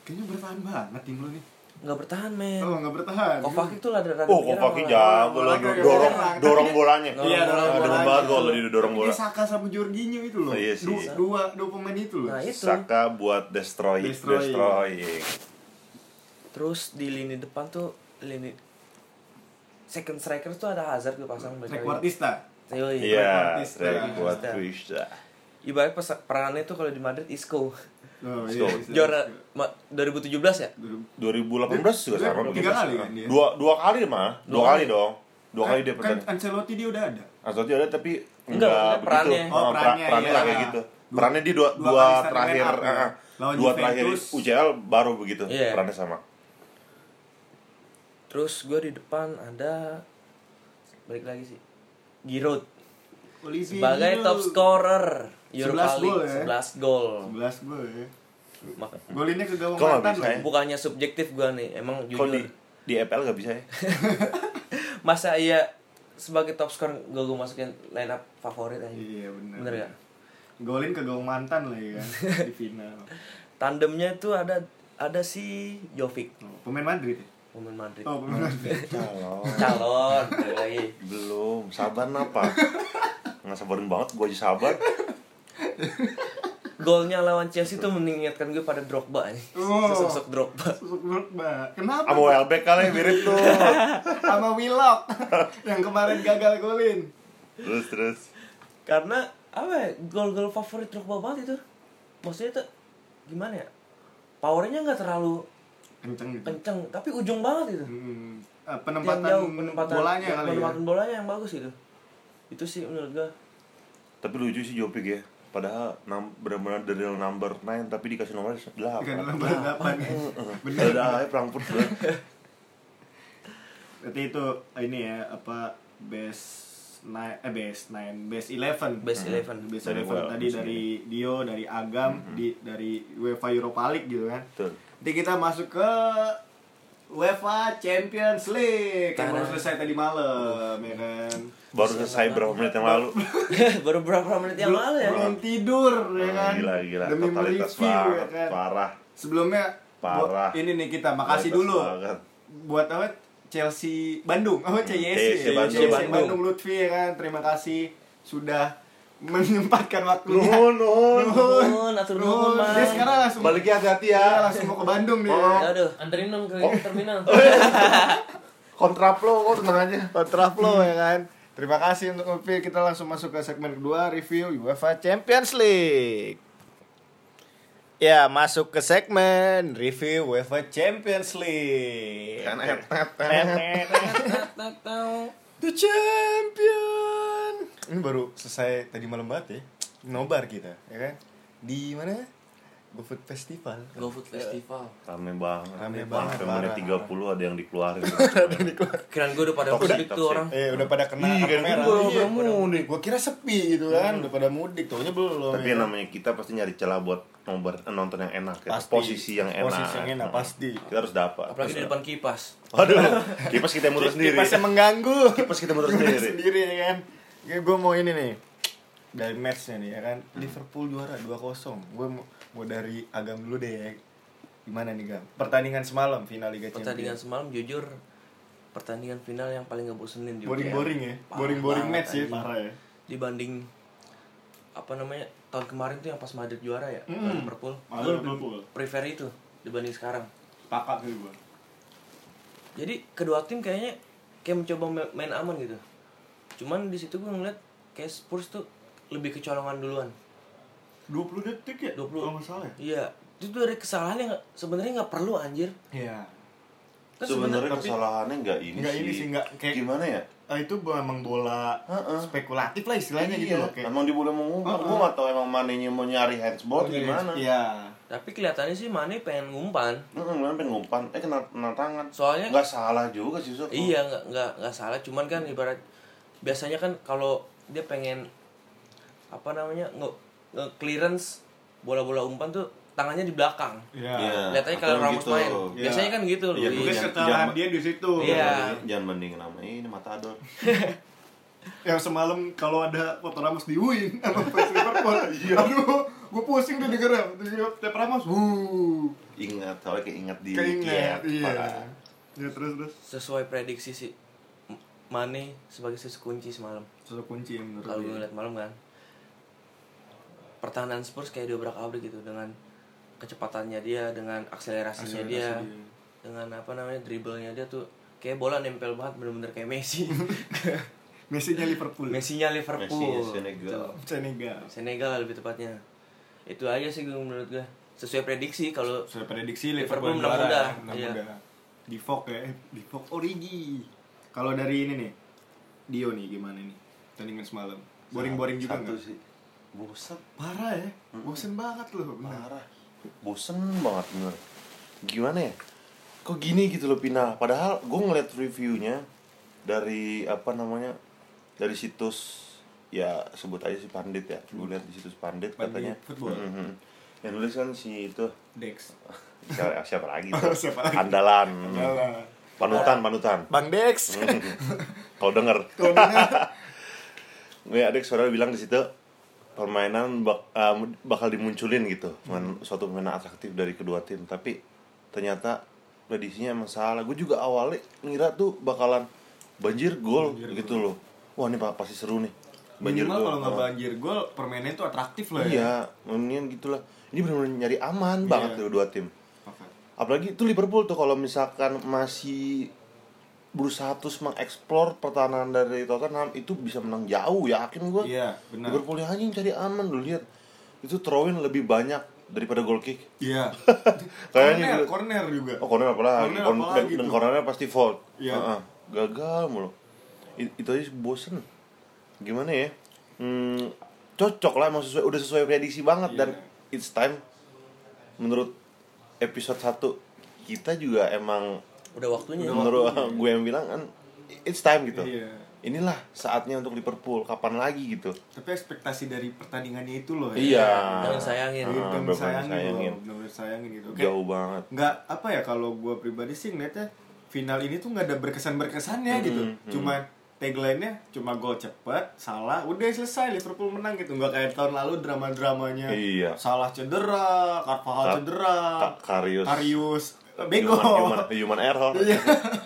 Speaker 1: kayaknya bertahan banget tim lu nih.
Speaker 3: Nggak bertahan, men.
Speaker 1: Oh, nggak bertahan.
Speaker 3: Kovacic tuh rada-rada
Speaker 2: oh
Speaker 3: menyerang
Speaker 2: Kopaki
Speaker 3: malah.
Speaker 2: jago
Speaker 1: bola
Speaker 2: loh
Speaker 1: gerak.
Speaker 2: dorong
Speaker 1: Tapi
Speaker 2: dorong
Speaker 1: dia-
Speaker 2: bolanya
Speaker 1: Iya, dorong
Speaker 2: Ada
Speaker 1: bolanya.
Speaker 2: banget gol di dorong
Speaker 1: Ini
Speaker 2: bola
Speaker 1: Saka sama Jorginho itu loh.
Speaker 2: Oh, iya sih.
Speaker 1: Du- dua dua pemain itu loh.
Speaker 3: Nah, itu.
Speaker 2: Saka buat destroy
Speaker 1: Destroy.
Speaker 2: destroying
Speaker 3: Terus di lini depan tuh lini second striker tuh ada Hazard gue pasang by the way.
Speaker 1: Trequartista.
Speaker 3: Iya, iya.
Speaker 2: iya
Speaker 1: Martis.
Speaker 2: Drake buat
Speaker 3: Martis.
Speaker 2: Twitch
Speaker 3: Ibarat pesa- peranannya tuh kalau di Madrid Isco.
Speaker 1: Oh,
Speaker 2: Go.
Speaker 1: bisa,
Speaker 3: Juara
Speaker 1: bisa.
Speaker 3: ma- 2017 ya?
Speaker 1: Dulu.
Speaker 2: 2018 juga
Speaker 1: Dia-
Speaker 2: sama
Speaker 1: dia
Speaker 2: begitu.
Speaker 1: tiga kali kan dia?
Speaker 2: dua dua kali mah dua
Speaker 3: Dua
Speaker 2: kali dong dua kali dia
Speaker 1: kan
Speaker 2: pertandingan
Speaker 1: Ancelotti dia udah ada.
Speaker 2: Ancelotti ada tapi
Speaker 3: Enggak,
Speaker 2: enggak
Speaker 3: perannya.
Speaker 2: begitu
Speaker 1: Oh,
Speaker 2: Ah,
Speaker 1: perannya,
Speaker 2: pra- perannya
Speaker 1: iya.
Speaker 2: kayak gitu perannya di dua
Speaker 1: Dua
Speaker 2: dua
Speaker 1: kali starting
Speaker 2: terakhir
Speaker 1: line up, ya.
Speaker 2: ah, ah.
Speaker 1: Lawan
Speaker 2: dua terakhir
Speaker 1: Juventus.
Speaker 2: UCL baru begitu
Speaker 3: Iya.
Speaker 2: perannya sama
Speaker 3: Terus gue di depan ada balik lagi sih. Giroud
Speaker 1: Olivier
Speaker 3: sebagai
Speaker 1: Giroud.
Speaker 3: top scorer Europa
Speaker 1: 11 gol
Speaker 3: League
Speaker 1: ya.
Speaker 3: 11 gol.
Speaker 1: 11 gol ya.
Speaker 3: Mak-
Speaker 1: Golinnya ke gawang
Speaker 2: Kok nggak
Speaker 1: mantan
Speaker 2: bisa ya?
Speaker 1: loh.
Speaker 3: Bukannya subjektif gue nih, emang
Speaker 2: kalau di
Speaker 3: jujur.
Speaker 2: di EPL gak bisa ya
Speaker 3: Masa iya sebagai top scorer gue gue masukin line up favorit aja.
Speaker 1: Iya, benar.
Speaker 3: Bener gak?
Speaker 1: Golin ke gawang mantan lah ya kan di final.
Speaker 3: Tandemnya tuh ada ada si Jovic
Speaker 1: Oh, pemain Madrid. ya?
Speaker 3: pemain Madrid.
Speaker 1: Oh, pemain Madrid.
Speaker 2: Kalau
Speaker 3: Calon balik lagi.
Speaker 2: belum sabar apa nggak sabarin banget gue aja sabar
Speaker 3: Golnya lawan Chelsea tuh mengingatkan gue pada Drogba nih.
Speaker 1: Oh.
Speaker 3: Sosok Drogba.
Speaker 1: Susuk menurut Mbak. Kenapa?
Speaker 2: sama Welbeck kali mirip tuh
Speaker 1: Sama Willock yang kemarin gagal golin.
Speaker 2: terus terus
Speaker 3: karena apa ya, gol-gol favorit Drogba banget itu maksudnya itu gimana ya powernya nggak terlalu
Speaker 1: Kenceng gitu.
Speaker 3: kenceng tapi ujung banget itu
Speaker 1: Hmm, eh,
Speaker 3: Tiap
Speaker 1: penempatan,
Speaker 3: jauh penempatan
Speaker 1: bolanya
Speaker 3: ya,
Speaker 1: kali
Speaker 3: penempatan
Speaker 1: ya.
Speaker 3: bolanya yang bagus itu itu sih menurut gue
Speaker 2: tapi lucu sih Jopik ya padahal nam, benar-benar the real number 9 tapi dikasih nomor
Speaker 1: Bukan
Speaker 2: 8
Speaker 3: Nah,
Speaker 1: nomor 8
Speaker 3: oh,
Speaker 1: ya. Benar.
Speaker 2: ada aja Frankfurt bener.
Speaker 1: Berarti itu ini ya apa best nine eh best nine best eleven
Speaker 3: best eleven
Speaker 1: best
Speaker 2: Dari
Speaker 1: eleven
Speaker 2: Wel-
Speaker 1: tadi
Speaker 2: musim
Speaker 1: dari Dio dari Agam
Speaker 2: Hmm.
Speaker 1: di dari UEFA Europa League gitu kan
Speaker 2: Betul.
Speaker 1: nanti kita masuk ke UEFA Champions League yang baru
Speaker 3: Tadam.
Speaker 1: selesai tadi malam ya kan
Speaker 2: baru selesai berapa menit yang lalu
Speaker 3: baru berapa menit yang lalu ya
Speaker 1: belum tidur ya kan
Speaker 2: gila gila
Speaker 1: demi
Speaker 2: totalitas
Speaker 1: mereview ya
Speaker 2: banget
Speaker 1: kan
Speaker 2: parah
Speaker 1: sebelumnya
Speaker 2: Parah.
Speaker 1: buat- ini nih kita makasih
Speaker 2: Totalitas kan.
Speaker 1: dulu
Speaker 2: banget.
Speaker 1: buat apa Chelsea Bandung oh CYS
Speaker 2: CYC
Speaker 1: CYC
Speaker 2: Hmm. Bandung.
Speaker 1: Bandung. Lutfi ya kan terima kasih sudah menyempatkan waktunya
Speaker 2: Nuhun, nuhun.
Speaker 3: Nuhun, atur nuhun, Bang.
Speaker 1: dia sekarang langsung
Speaker 2: Baliknya hati-hati ya.
Speaker 1: Iya, langsung mau ke Bandung nih
Speaker 3: aduh
Speaker 4: Anterin dong ke
Speaker 2: Oh.
Speaker 4: terminal.
Speaker 2: kontraplo kok tenang aja Hmm.
Speaker 1: kontraflow ya kan terima kasih untuk Lutfi kita langsung masuk ke segmen kedua review UEFA Champions League Ya, masuk ke segmen review UEFA Champions League. The champion ini baru selesai tadi malam banget ya nobar kita ya kan di mana GoFood Festival
Speaker 3: GoFood Festival.
Speaker 2: Rame banget.
Speaker 1: Rame banget,
Speaker 2: Sampai menit
Speaker 1: parah.
Speaker 2: 30 ada yang dikeluarin.
Speaker 3: Kiraan gue udah pada
Speaker 2: Toxic,
Speaker 3: mudik tuh
Speaker 2: toxic.
Speaker 3: orang.
Speaker 1: eh udah pada kena
Speaker 2: Ih,
Speaker 1: kartu
Speaker 2: kan
Speaker 1: merah
Speaker 2: gua
Speaker 1: Iya,
Speaker 2: udah mudik.
Speaker 1: gua kira sepi gitu kan udah pada mudik taunya belum
Speaker 2: Tapi
Speaker 1: ya.
Speaker 2: yang namanya kita pasti nyari celah buat nobar- nonton yang enak ya.
Speaker 1: Pasti.
Speaker 2: Posisi yang enak. Nah,
Speaker 1: Posisi yang enak, pasti.
Speaker 2: Kita harus dapat.
Speaker 3: Apalagi di depan kipas.
Speaker 2: Waduh, kipas kita yang muter sendiri.
Speaker 1: Kipasnya mengganggu.
Speaker 2: Kipas kita muter
Speaker 1: Kipas
Speaker 2: sendiri.
Speaker 1: sendiri ya kan. gue mau ini nih. Dari matchnya nih ya kan. Liverpool juara 2-0. Gue mau, mau dari Agam dulu deh. Ya. Gimana nih Gam? Pertandingan semalam final Liga
Speaker 3: Pertandingan
Speaker 1: Champions.
Speaker 3: semalam jujur pertandingan final yang paling ngebosenin juga.
Speaker 1: Boring-boring ya.
Speaker 3: Parah
Speaker 1: Boring-boring
Speaker 3: banget,
Speaker 1: match ya,
Speaker 3: anjing.
Speaker 1: parah ya.
Speaker 3: Dibanding apa namanya tahun kemarin tuh yang pas Madrid juara ya
Speaker 1: Hmm.
Speaker 3: lawan Liverpool.
Speaker 1: Madrid
Speaker 3: Gue lebih
Speaker 1: Liverpool.
Speaker 3: prefer itu dibanding sekarang.
Speaker 1: Pakak sih gue.
Speaker 3: Jadi kedua tim kayaknya kayak mencoba ma- main aman gitu. Cuman di situ gue ngeliat kayak Spurs tuh lebih kecolongan duluan.
Speaker 1: 20 detik ya?
Speaker 3: 20.
Speaker 1: Kalau nggak salah ya?
Speaker 3: Iya, itu tuh dari kesalahan yang nggak- sebenarnya nggak perlu anjir.
Speaker 1: Iya.
Speaker 3: Kan
Speaker 2: Sebenarnya
Speaker 3: tapi-
Speaker 2: kesalahannya nggak ini
Speaker 1: Nggak
Speaker 2: sih.
Speaker 1: ini sih, nggak kayak-
Speaker 2: Gimana ya?
Speaker 1: Ah, itu memang bola
Speaker 2: Heeh.
Speaker 1: spekulatif lah istilahnya gitu
Speaker 2: Iya,
Speaker 1: loh. Kayak,
Speaker 2: Emang diboleh mengumpat,
Speaker 1: Heeh.
Speaker 2: gua nggak tahu emang manenya mau nyari handsball atau gimana.
Speaker 1: Iya.
Speaker 3: Tapi kelihatannya sih Mane pengen ngumpan.
Speaker 2: Heeh, mana pengen ngumpan, eh kena, kena tangan.
Speaker 3: Soalnya-
Speaker 2: nggak salah juga sih Sof.
Speaker 3: Iya, nggak nggak nggak salah. Cuman kan ibarat biasanya kan kalau dia pengen apa namanya nge, nge- clearance bola-bola umpan tuh tangannya di belakang.
Speaker 1: Iya.
Speaker 2: Iya.
Speaker 3: Kelihatannya
Speaker 2: atau
Speaker 3: kalau Ramos
Speaker 2: gitu.
Speaker 3: main.
Speaker 2: Iya.
Speaker 3: Biasanya kan gitu loh.
Speaker 2: Iya,
Speaker 3: Iya.
Speaker 2: mungkin
Speaker 5: Mungkin
Speaker 2: Jangan-
Speaker 5: kesalahan
Speaker 2: jangan-
Speaker 5: dia di situ.
Speaker 3: Iya.
Speaker 2: Jangan bandingin sama ini matador.
Speaker 1: yang semalam kalau ada foto Ramos di Win sama fans Liverpool aduh gue pusing tuh dengernya Terus tiap Ramos wuh
Speaker 2: Ingat, soalnya keinget di
Speaker 1: keinget
Speaker 2: Kiat,
Speaker 1: iya
Speaker 2: parah.
Speaker 1: ya terus terus
Speaker 3: Sesuai prediksi sih M- Mane sebagai sis kunci semalam.
Speaker 1: satu kunci yang menurut
Speaker 3: Kalau gue
Speaker 1: gue
Speaker 3: lihat malam kan. Pertahanan Spurs kayak diobrak-abrik gitu dengan kecepatannya dia, dengan akselerasinya
Speaker 1: Akselerasi
Speaker 3: dia,
Speaker 1: dia.
Speaker 3: dengan apa namanya dribblenya dia tuh kayak bola nempel banget bener-bener kayak Messi.
Speaker 1: Messi nya Liverpool
Speaker 3: Messinya Liverpool.
Speaker 2: Messinya Senegal.
Speaker 3: Gitu.
Speaker 1: Senegal
Speaker 3: Senegal lah lebih tepatnya. Itu aja sih gue menurut gue. Sesuai prediksi kalau
Speaker 1: saya prediksi Liverpool,
Speaker 3: Liverpool menang
Speaker 1: juara,
Speaker 3: mudah.
Speaker 1: menang
Speaker 3: Iya.
Speaker 1: mudah. di Vogue ya eh, di Vogue Origi kalau dari ini nih Dio nih gimana nih tandingan semalam boring-boring juga
Speaker 2: Satu
Speaker 1: nggak
Speaker 2: sih. Bosan,
Speaker 1: parah ya bosen banget loh benar
Speaker 2: parah. Bosan banget bener. Gimana ya? Kok gini gitu loh final. Padahal gue ngeliat reviewnya dari apa namanya dari situs ya sebut aja si pandit ya. Gue liat di situs pandit,
Speaker 1: Hmm. Pandit
Speaker 2: katanya.
Speaker 1: Football.
Speaker 2: Mhm. Yang nulis kan si itu
Speaker 1: Dex
Speaker 2: siapa, siapa lagi?
Speaker 1: Oh, siapa lagi?
Speaker 2: Andalan.
Speaker 1: Andalan.
Speaker 2: Panutan, panutan.
Speaker 1: Bang Dex
Speaker 2: Kalau denger.
Speaker 1: Kalau bener,
Speaker 2: Ya, adik saudara bilang di situ permainan bak- eh, bakal dimunculin gitu,
Speaker 1: Hmm.
Speaker 2: Main- suatu permainan atraktif dari kedua tim. Tapi ternyata prediksinya emang salah. Gue juga awalnya ngira tuh bakalan banjir gol gitu loh. Wah ini pa- pasti seru nih. Banjir
Speaker 1: Minimal kalau
Speaker 2: gol.
Speaker 1: nggak
Speaker 2: Ah.
Speaker 1: banjir gol permainan itu atraktif lah ya.
Speaker 2: Iya, mendingan gitulah. Ini benar-benar nyari aman banget
Speaker 1: Iya.
Speaker 2: tuh dua tim.
Speaker 1: Sepakat.
Speaker 2: Apalagi itu Liverpool tuh kalau misalkan masih berusaha terus mengeksplor pertahanan dari Tottenham itu bisa menang jauh yakin gue.
Speaker 1: Iya, benar.
Speaker 2: Liverpool yang anjing cari aman lu lihat. Itu throwin lebih banyak daripada goal kick.
Speaker 1: Iya. corner,
Speaker 2: Kayaknya gitu.
Speaker 1: corner juga.
Speaker 2: Oh corner apalagi,
Speaker 1: Corner
Speaker 2: Kon-
Speaker 1: apalagi
Speaker 2: dan, dan
Speaker 1: tuh.
Speaker 2: cornernya pasti fault.
Speaker 1: Iya.
Speaker 2: Heeh. Gagal mulu. I- itu aja bosen. Gimana ya? Hmm, cocok lah emang sesuai udah sesuai prediksi banget
Speaker 1: Iya.
Speaker 2: dan it's time menurut episode 1 kita juga emang
Speaker 3: udah waktunya.
Speaker 2: menurut gue yang bilang kan it's time gitu.
Speaker 1: Iya.
Speaker 2: Inilah saatnya untuk Liverpool kapan lagi gitu.
Speaker 1: Tapi ekspektasi dari pertandingannya itu loh.
Speaker 2: Iya.
Speaker 3: Jangan
Speaker 1: Ya.
Speaker 3: sayangin.
Speaker 2: Ah,
Speaker 1: Bener-bener
Speaker 2: bener-bener
Speaker 1: sayangin,
Speaker 2: sayangin.
Speaker 1: loh. Bener-bener sayangin gitu. Kayak
Speaker 2: Jauh banget.
Speaker 1: nggak apa ya kalau gue pribadi sih ngeliatnya final ini tuh nggak ada berkesan berkesannya gitu.
Speaker 2: Hmm,
Speaker 1: Cuma tagline-nya cuma gol cepet, salah, udah selesai Liverpool menang gitu. Nggak kayak tahun lalu drama-dramanya.
Speaker 2: Iya.
Speaker 1: Salah cedera, Carvajal
Speaker 2: Ka-
Speaker 1: cedera,
Speaker 2: Ka- Karius.
Speaker 1: Ah, Karius bego. Iya.
Speaker 2: Human, human, human error.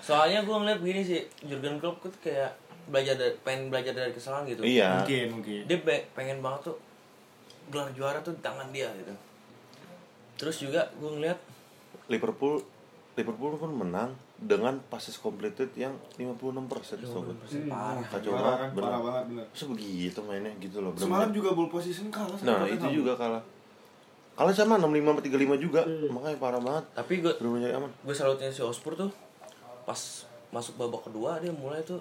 Speaker 3: Soalnya gue ngeliat begini sih, Jurgen Klopp tuh kayak belajar dari, pengen belajar dari kesalahan gitu.
Speaker 2: iya.
Speaker 1: Mungkin, mungkin.
Speaker 3: Dia pe- pengen banget tuh gelar juara tuh di tangan dia gitu. Terus juga gue ngeliat
Speaker 2: Liverpool Liverpool pun menang dengan passes completed yang 56 persen
Speaker 3: parah.
Speaker 2: Kacau
Speaker 1: Parah kan,
Speaker 2: banget, bener.
Speaker 1: parah banget bener.
Speaker 2: Sebegitu mainnya gitu loh.
Speaker 1: Semalam
Speaker 2: bener-bener.
Speaker 1: juga ball position kalah sama
Speaker 2: Nah
Speaker 1: Tottenham.
Speaker 2: itu juga kalah. Kalah sama 65 sama 35 juga,
Speaker 1: Iya.
Speaker 2: makanya parah banget.
Speaker 3: Tapi gue
Speaker 2: Belum nyari aman.
Speaker 3: gue salutnya si Ospur tuh pas masuk babak kedua dia mulai tuh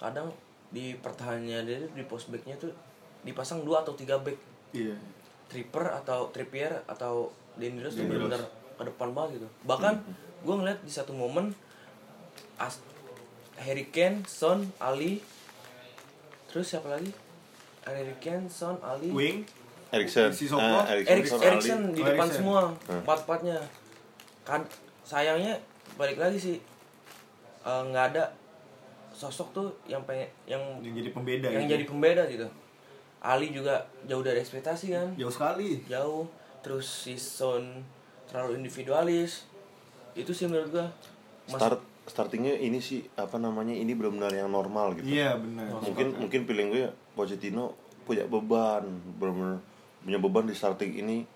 Speaker 3: kadang di pertahanannya dia tuh, di post backnya tuh dipasang dua atau tiga back
Speaker 1: Iya.
Speaker 3: Tripper atau Trippier atau Danny Rose tuh benar-benar ke depan banget gitu. Bahkan gue ngeliat di satu momen As Harry Kane, Son, Ali, terus siapa lagi? Harry Kane, Son, Ali,
Speaker 1: Wing.
Speaker 2: Erikson,
Speaker 1: Sissoko.
Speaker 2: Ah,
Speaker 3: Erik
Speaker 2: Erikson,
Speaker 3: Oh, Erikson Hmm.
Speaker 2: Ali.
Speaker 3: di depan
Speaker 1: Eriksen.
Speaker 3: semua empat-empatnya. Kan sayangnya balik lagi sih eh, nggak ada sosok tuh yang pengen yang
Speaker 1: Yang jadi pembeda
Speaker 3: yang
Speaker 1: gitu.
Speaker 3: jadi pembeda gitu. Ali juga jauh dari ekspektasi kan
Speaker 1: jauh sekali.
Speaker 3: jauh terus si Son terlalu individualis itu sih menurut gua Mas-
Speaker 2: Start startingnya ini sih apa namanya ini benar-benar yang normal gitu.
Speaker 1: Iya benar.
Speaker 2: mungkin mungkin feeling gue Pochettino punya beban benar-benar punya beban di starting ini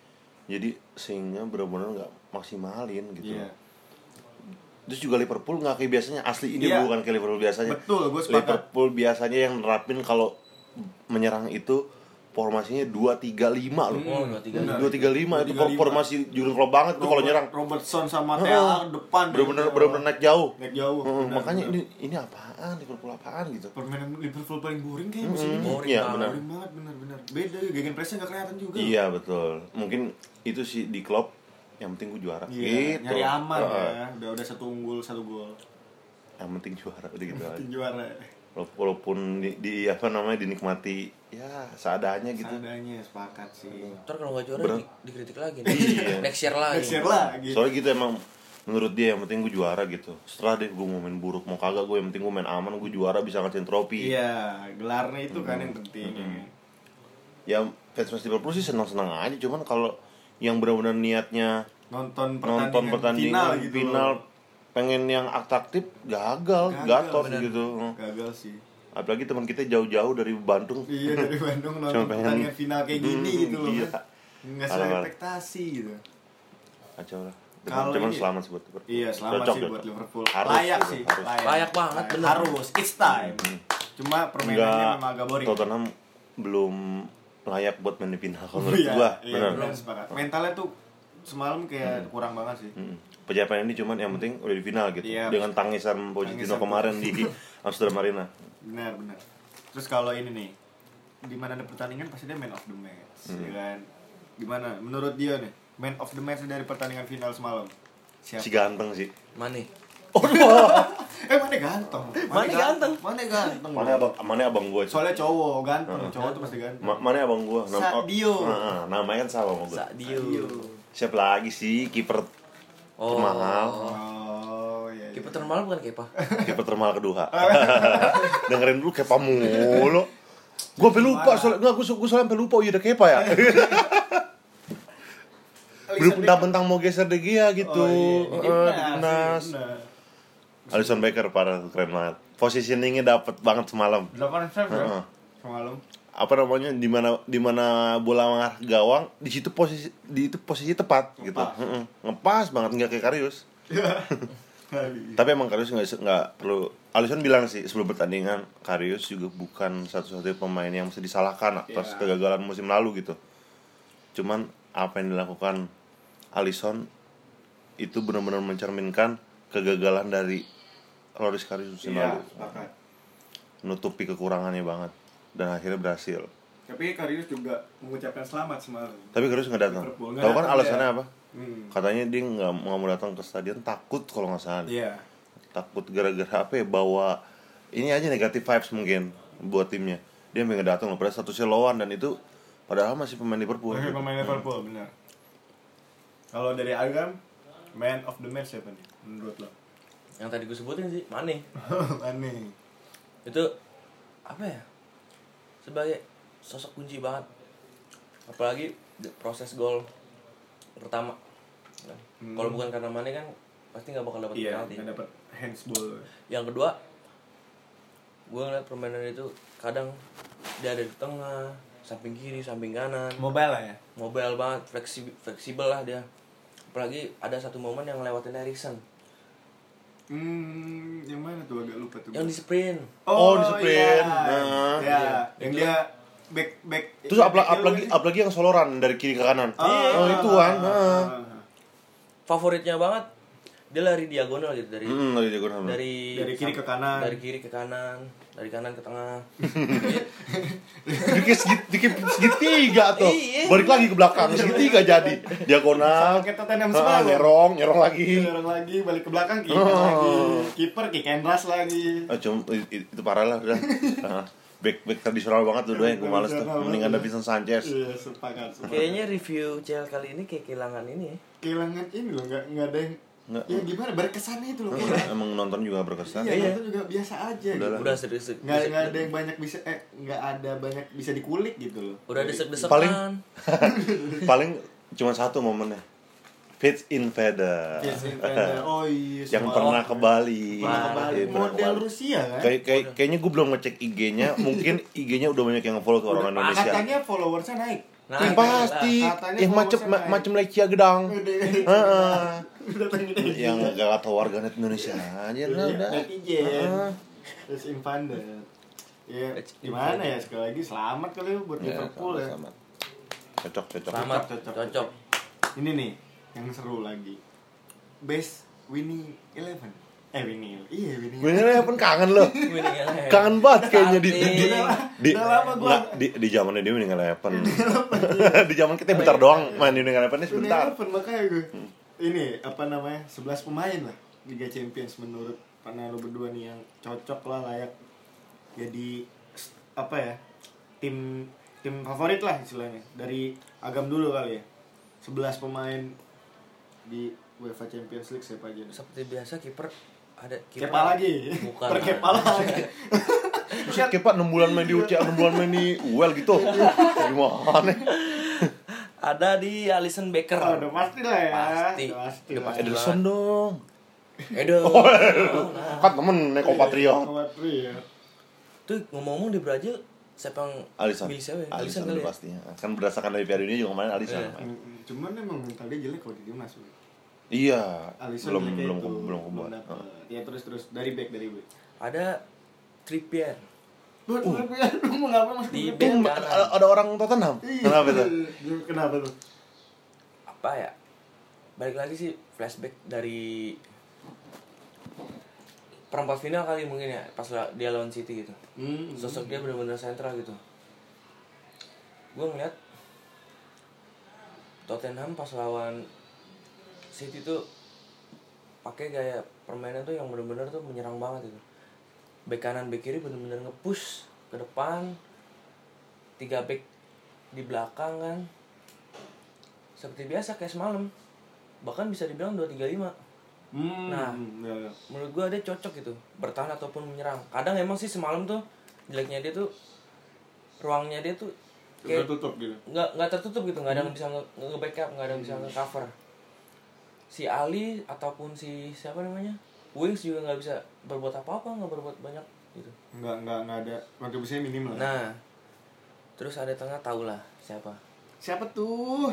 Speaker 2: jadi sehingga benar-benar nggak maksimalin gitu
Speaker 1: Iya.
Speaker 2: terus juga Liverpool nggak kayak biasanya asli ini
Speaker 1: Iya.
Speaker 2: bukan kayak Liverpool biasanya
Speaker 1: Betul, gue sepakat.
Speaker 2: Liverpool biasanya yang nerapin kalau menyerang itu formasinya dua tiga lima loh
Speaker 3: Oh, 2-3-5.
Speaker 2: dua tiga lima itu
Speaker 1: 2-3-5.
Speaker 2: formasi Jurgen Klopp banget tuh kalau
Speaker 1: Robert-
Speaker 2: nyerang
Speaker 1: Robertson sama
Speaker 2: Heeh.
Speaker 1: Tea depan.
Speaker 2: bener-bener
Speaker 1: Gitu.
Speaker 2: bener-bener naik jauh
Speaker 1: Naik jauh,
Speaker 2: Heeh,
Speaker 1: benar,
Speaker 2: makanya
Speaker 1: benar.
Speaker 2: ini ini apaan Liverpool apaan gitu
Speaker 1: permainan Liverpool paling boring kayaknya musim ini.
Speaker 3: Boring
Speaker 2: Iya,
Speaker 3: banget.
Speaker 2: benar.
Speaker 1: Boring banget benar-benar. Beda gegen pressnya nggak kelihatan juga.
Speaker 2: Iya betul. Mungkin itu sih di klub yang penting gue juara.
Speaker 1: Iya,
Speaker 2: gitu.
Speaker 1: nyari aman
Speaker 2: Heeh.
Speaker 1: ya. Udah udah satu unggul, satu gol.
Speaker 2: Yang penting juara udah gitu aja.
Speaker 1: Tim juara.
Speaker 2: Wala- Walaupun di, di- apa namanya dinikmati ya seadanya gitu.
Speaker 1: Seadanya sepakat sih.
Speaker 3: ntar kalau nggak juara
Speaker 2: Berat.
Speaker 3: di- dikritik lagi
Speaker 2: Iya.
Speaker 3: next year lagi
Speaker 1: Next year lagi.
Speaker 2: Soalnya gitu emang menurut dia yang penting gue juara gitu. Setelah deh gue mau main buruk mau kagak gue yang penting gue main aman gue juara bisa ngasihin trofi.
Speaker 1: Iya, gelarnya itu kan yang penting. ya kan?
Speaker 2: Ya fans fans Liverpool sih senang senang aja cuman kalau yang benar-benar niatnya
Speaker 1: Nonton pertandingan,
Speaker 2: nonton pertandingan
Speaker 1: final gitu.
Speaker 2: final
Speaker 1: loh.
Speaker 2: pengen yang atraktif gagal,
Speaker 1: Gagal,
Speaker 2: gatot
Speaker 1: bener.
Speaker 2: gitu. Heeh.
Speaker 1: Gagal sih.
Speaker 2: Apalagi teman kita jauh-jauh dari Bandung.
Speaker 1: Iya dari Bandung
Speaker 2: Cuma
Speaker 1: nonton
Speaker 2: pengen-
Speaker 1: pertandingan final kayak gini
Speaker 2: Hmm,
Speaker 1: gitu loh.
Speaker 2: iya.
Speaker 1: kan. Nggak sesuai
Speaker 2: Parah-parah.
Speaker 1: ekspektasi gitu.
Speaker 2: Kacau lah. Cuman,
Speaker 1: Kalau
Speaker 2: cuman
Speaker 1: ini-
Speaker 2: selamat sih buat Liverpool.
Speaker 1: Iya, selamat
Speaker 2: Cocok,
Speaker 1: sih buat
Speaker 2: cocok.
Speaker 1: Liverpool.
Speaker 2: Harus,
Speaker 1: layak
Speaker 2: gitu,
Speaker 1: sih,
Speaker 2: harus. Mm-hmm.
Speaker 3: Layak banget, bener.
Speaker 1: Harus, it's time. Cuma permainannya
Speaker 2: Enggak,
Speaker 1: memang agak boring.
Speaker 2: Tottenham belum layak buat main di final kalau menurut
Speaker 1: Iya,
Speaker 2: gua.
Speaker 1: iya,
Speaker 2: Benar.
Speaker 1: benar, sepakat. Mentalnya tuh semalam kayak
Speaker 2: Mm-hmm.
Speaker 1: kurang banget sih.
Speaker 2: Mm-mm. Pencapaian ini cuman yang penting udah di final gitu.
Speaker 1: Iya.
Speaker 2: Dengan tangisan Pochettino
Speaker 1: Tangisan.
Speaker 2: kemarin di Amsterdam Arena.
Speaker 1: Benar, benar. Terus kalau ini nih, di mana ada pertandingan pasti dia man of the match,
Speaker 2: Mm-hmm.
Speaker 1: ya kan? Gimana menurut dia nih? Man of the match dari pertandingan final semalam. Siapa?
Speaker 2: Si ganteng sih.
Speaker 3: Mane
Speaker 1: Eh, mana ganteng?
Speaker 3: Mane ganteng.
Speaker 1: Mana ganteng?
Speaker 2: Mana abang, mana abang gua? sih?
Speaker 1: Soalnya cowok ganteng,
Speaker 2: Mm-hmm.
Speaker 1: cowok tuh pasti ganteng.
Speaker 2: Ma- mana abang gua? oh,
Speaker 1: Sadio.
Speaker 2: Heeh, namanya kan sama sama gua.
Speaker 3: Sadio
Speaker 2: Siapa lagi sih kiper
Speaker 3: oh
Speaker 2: termahal?
Speaker 1: Oh, iya. iya.
Speaker 3: kiper termahal bukan Kepa
Speaker 2: Kiper termahal kedua. Dengerin dulu Kepa mulu. Gue sampe lupa, soalnya enggak gue gue sampe lupa oh iya ada Kepa ya. Belum bentang-bentang mau geser De Gea gitu.
Speaker 1: Oh, iya.
Speaker 2: Heeh, di
Speaker 1: Timnas,
Speaker 2: timnas. Alisson Becker parah tuh, keren banget. Positioningnya dapet banget semalam.
Speaker 1: Delapan frame ya?
Speaker 2: Heeh.
Speaker 1: Semalam.
Speaker 2: Apa namanya di mana di mana bola mengarah ke gawang, di situ posisi di itu posisi tepat gitu.
Speaker 1: Ngepas.
Speaker 2: Heeh. Ngepas banget nggak kayak Karius.
Speaker 1: Kali.
Speaker 2: Tapi emang Karius nggak nggak perlu. Alisson bilang sih sebelum pertandingan Karius juga bukan satu-satunya pemain yang mesti disalahkan
Speaker 1: Iya.
Speaker 2: atas kegagalan musim lalu gitu. Cuman apa yang dilakukan Alisson itu benar-benar mencerminkan kegagalan dari Loris Karius musim
Speaker 1: Iya,
Speaker 2: lalu.
Speaker 1: sepakat.
Speaker 2: Nutupi kekurangannya banget dan akhirnya berhasil.
Speaker 1: Tapi Karius juga mengucapkan selamat semalam.
Speaker 2: Tapi Karius nggak datang.
Speaker 1: Liverpool nggak
Speaker 2: Tahu kan
Speaker 1: datang,
Speaker 2: alasannya
Speaker 1: ya.
Speaker 2: apa?
Speaker 1: Hmm.
Speaker 2: Katanya dia nggak nggak mau datang ke stadion takut kalau nggak salah.
Speaker 1: Iya.
Speaker 2: takut gara-gara apa ya bawa ini aja negatif vibes mungkin buat timnya dia pengen datang loh padahal statusnya lawan dan itu padahal masih pemain Liverpool
Speaker 1: Tapi
Speaker 2: gitu.
Speaker 1: pemain Liverpool benar. Kalau dari Agam, man of the match siapa nih menurut lo?
Speaker 3: yang tadi gue sebutin sih Mane
Speaker 1: Aneh.
Speaker 3: itu apa ya sebagai sosok kunci banget apalagi proses gol pertama Kan? kalau bukan karena Mane kan pasti nggak bakal dapat
Speaker 1: Hmm. Iya,
Speaker 3: penalti
Speaker 1: nggak dapat handsball.
Speaker 3: yang kedua gue ngeliat permainan itu kadang dia ada di tengah samping kiri samping kanan
Speaker 1: Mobile lah ya.
Speaker 3: mobile banget fleksibel fleksibel lah dia apalagi ada satu momen yang lewatin Erikson
Speaker 1: Hmm, yang mana tuh agak lupa tuh.
Speaker 3: yang di sprint
Speaker 2: Oh, di
Speaker 1: Iya.
Speaker 2: sprint. Nah.
Speaker 1: Iya, yang dia back back
Speaker 2: terus
Speaker 1: back
Speaker 2: apalagi
Speaker 1: heel
Speaker 2: apalagi
Speaker 1: kan?
Speaker 2: apalagi yang soloran dari kiri ke kanan
Speaker 1: Ah,
Speaker 2: oh, itu kan
Speaker 1: ah,
Speaker 2: heeh.
Speaker 1: ah, ah.
Speaker 3: favoritnya banget dia lari diagonal gitu dari
Speaker 2: Hmm, dari jago nama.
Speaker 3: dari
Speaker 1: Dari kiri ke kanan.
Speaker 3: dari kiri ke kanan dari kanan ke tengah
Speaker 2: Dikit segit- dikit segitiga tuh.
Speaker 1: Iya.
Speaker 2: Balik lagi ke belakang, segitiga jadi. Diagonal.
Speaker 1: Sama kayak Tottenham Iya.
Speaker 2: Ah,
Speaker 1: semalam.
Speaker 2: Nyerong, nyerong lagi.
Speaker 1: orang lagi balik ke belakang
Speaker 2: Oh.
Speaker 1: kiper lagi kiper kick and rush lagi
Speaker 2: Ah, cuma i- i- itu parah lah udah. Ah, back back tradisional banget tuh gue males tuh. Mendingan ada Vincent Sanchez.
Speaker 1: iya sepakat sepakat.
Speaker 3: kayaknya review CL kali ini kayak kehilangan ini ya.
Speaker 1: kehilangan ini loh nggak nggak ada yang
Speaker 2: Nggak. Nah,
Speaker 1: ya gimana berkesannya itu loh
Speaker 2: Udah, Emang nonton juga berkesan.
Speaker 1: iya itu juga biasa aja
Speaker 2: Udah
Speaker 1: gitu.
Speaker 2: lah.
Speaker 3: udah serius
Speaker 1: nggak nggak ada yang banyak bisa eh nggak ada banyak bisa dikulik gitu loh
Speaker 3: udah
Speaker 1: Jadi-
Speaker 3: desek-desekan
Speaker 2: Paling- Paling cuma satu momennya. Fitz Invader.
Speaker 1: Yes, Invader. oh iya
Speaker 2: yang
Speaker 1: semua-
Speaker 2: pernah ke Bali.
Speaker 1: pernah ke Bali.
Speaker 2: Iya, pernah ke
Speaker 1: model
Speaker 2: Bali.
Speaker 1: Rusia kan
Speaker 2: Kayak, kayak, kayaknya gue belum ngecek IG-nya, mungkin IG-nya udah banyak yang follow tuh orang Indonesia.
Speaker 1: katanya followersnya naik
Speaker 2: Eh,
Speaker 3: Naik.
Speaker 2: pasti,
Speaker 1: Katanya
Speaker 2: yang macem
Speaker 1: followersnya naik.
Speaker 2: macem Lecia Gedang. Heeh.
Speaker 1: datangin
Speaker 2: yang gak tau warganet Indonesia aja lah udah.
Speaker 1: Iya, netizen
Speaker 2: Heeh.
Speaker 1: terus Invander ya gimana ya sekali lagi selamat kali ya buat
Speaker 2: Ya,
Speaker 1: Liverpool ya
Speaker 2: sama-sama. Cocok, cocok.
Speaker 3: selamat
Speaker 1: Cocok,
Speaker 3: cocok,
Speaker 1: cocok. ini nih yang seru lagi best winning eleven eh winning iya winning
Speaker 2: Gue ini pun kangen loh.
Speaker 3: Winning Eleven.
Speaker 2: Kangen Kan banget kayaknya di di di,
Speaker 3: Eh, Udah
Speaker 2: di,
Speaker 1: udah lama gua.
Speaker 2: nggak, di, di zamannya dia Winning Eleven. di zaman kita bentar doang main Winning Eleven
Speaker 1: winning
Speaker 2: sebentar.
Speaker 1: eleven makanya gue ini apa namanya 11 pemain lah Liga Champions menurut panel lo berdua nih yang cocok lah layak jadi s- apa ya tim tim favorit lah istilahnya dari agam dulu kali ya 11 pemain di UEFA Champions League siapa aja nih?
Speaker 3: seperti biasa kiper ada kiper
Speaker 1: Kepa lagi
Speaker 3: bukan
Speaker 1: Per kepa lagi
Speaker 2: Buset kepa 6 bulan main di UCL, 6 bulan main di UEL gitu. Gimana?
Speaker 3: ada di Alison Becker
Speaker 1: Oh, udah pasti lah ya
Speaker 3: Pasti.
Speaker 1: Udah pasti
Speaker 2: Udah Pak
Speaker 1: lah.
Speaker 2: Ederson dong.
Speaker 3: Edo
Speaker 1: Oh, iya.
Speaker 2: Kan temen Neko Patriot.
Speaker 1: Kuat Tri ya.
Speaker 3: tuh ngomong-ngomong di Brazil siapa yang
Speaker 2: Alisson.
Speaker 3: milih siapa ya?
Speaker 2: Alisson
Speaker 3: kali
Speaker 2: udah
Speaker 3: ya?
Speaker 2: pastinya. Kan berdasarkan dari Piala Dunia juga kemarin Alisson.
Speaker 3: Iya.
Speaker 1: Mm, Cuman emang mentalnya jelek kalau di timnas. Bro.
Speaker 2: Iya.
Speaker 1: Alisson gitu.
Speaker 2: Belum
Speaker 1: jeleknya
Speaker 2: belum
Speaker 1: itu,
Speaker 2: belum kebuat.
Speaker 1: dapet. Ya terus terus dari back dari back.
Speaker 3: ada Trippier
Speaker 1: Lu lu mau ngapain masuk
Speaker 3: Di
Speaker 1: di Iya.
Speaker 3: back.
Speaker 1: back?
Speaker 2: Tuh, ada ada orang Tottenham. Kenapa itu?
Speaker 1: Kenapa tuh?
Speaker 3: apa ya balik lagi sih flashback dari perempat final kali mungkin ya pas la- dia lawan City gitu
Speaker 1: Hmm.
Speaker 3: sosok dia benar-benar sentral gitu gue ngeliat Tottenham pas lawan City tuh pakai gaya permainan tuh yang benar-benar tuh menyerang banget gitu back kanan back kiri benar-benar ngepush ke depan tiga back di belakang kan seperti biasa kayak semalam bahkan bisa dibilang 235
Speaker 1: Hmm.
Speaker 3: Nah.
Speaker 1: ya, ya.
Speaker 3: menurut gua dia cocok gitu bertahan ataupun menyerang kadang emang sih semalam tuh jeleknya dia tuh ruangnya dia tuh
Speaker 1: Udah
Speaker 3: kayak
Speaker 1: tutup gitu.
Speaker 3: nggak nggak tertutup gitu nggak ada yang bisa nge- nge backup nggak ada yang bisa nge cover si Ali ataupun si siapa namanya Wings juga nggak bisa berbuat apa-apa nggak berbuat banyak gitu
Speaker 1: Enggak enggak enggak ada kontribusinya minim lah.
Speaker 3: nah terus ada tengah tau lah siapa
Speaker 1: Siapa tuh?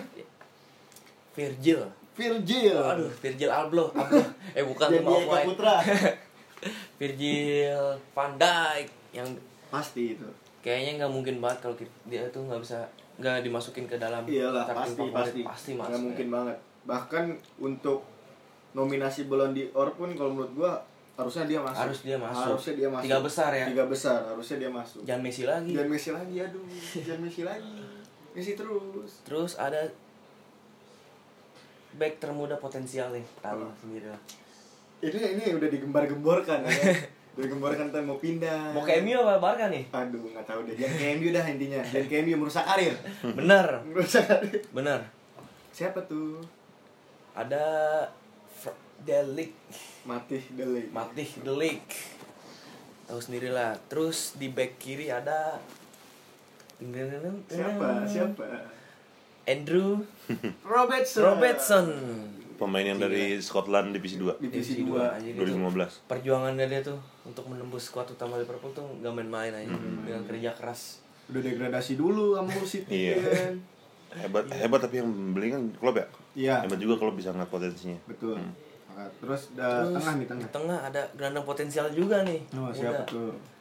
Speaker 3: Virgil
Speaker 1: Virgil.
Speaker 3: aduh Virgil Abloh Abloh eh bukan
Speaker 1: Jadi
Speaker 3: maaf
Speaker 1: Eka
Speaker 3: maaf.
Speaker 1: Putra.
Speaker 3: Virgil Van Dijk yang
Speaker 1: Pasti itu.
Speaker 3: kayaknya nggak mungkin banget kalau ki- dia tuh nggak bisa nggak dimasukin ke dalam
Speaker 1: Iyalah
Speaker 3: starting
Speaker 1: pasti
Speaker 3: favorit.
Speaker 1: pasti
Speaker 3: pasti ya.
Speaker 1: Nggak
Speaker 3: mas
Speaker 1: mungkin banget. Bahkan untuk nominasi Ballon d'Or pun kalau menurut gua harusnya dia masuk.
Speaker 3: Harus dia masuk.
Speaker 1: Harusnya dia masuk.
Speaker 3: Tiga besar ya?
Speaker 1: Tiga besar harusnya dia masuk.
Speaker 3: jangan Messi lagi
Speaker 1: Jangan Messi lagi aduh, jangan Messi lagi. Messi terus.
Speaker 3: terus ada back termuda potensial nih tahu sendiri lah
Speaker 1: Ini ini udah digembar-gemborkan ya. digemborkan tentang mau pindah.
Speaker 3: mau ke MU apa Barca nih
Speaker 1: Aduh, nggak tahu deh. Jangan ke MU dah intinya. Jangan ke MU merusak karir.
Speaker 3: bener
Speaker 1: Merusak karir.
Speaker 3: bener
Speaker 1: Siapa tuh?
Speaker 3: ada Fr- Delik
Speaker 1: Matih Dele.
Speaker 3: Matih Delik tahu sendiri lah terus di back kiri ada
Speaker 1: Siapa? Siapa?
Speaker 3: Andrew
Speaker 1: Robertson.
Speaker 3: Robertson
Speaker 2: Pemain yang dari Scotland divisi 2
Speaker 1: Divisi
Speaker 3: Divisi dua,
Speaker 1: 2.
Speaker 3: anjing.
Speaker 2: 2015.
Speaker 3: perjuangannya dia tuh untuk menembus skuad utama Liverpool tuh gak main-main aja dengan kerja keras
Speaker 1: Udah degradasi dulu sama City
Speaker 2: Iya.
Speaker 1: kan.
Speaker 2: Hebat hebat tapi yang beli kan klub ya.
Speaker 1: Iya.
Speaker 2: Hebat juga klub bisa ngeliat potensinya.
Speaker 1: Betul. Nah, Terus da-
Speaker 3: Terus,
Speaker 1: tengah nih tengah.
Speaker 3: di tengah ada gelandang potensial juga nih
Speaker 1: Oh,
Speaker 3: Muda.
Speaker 1: siapa tuh? Iya.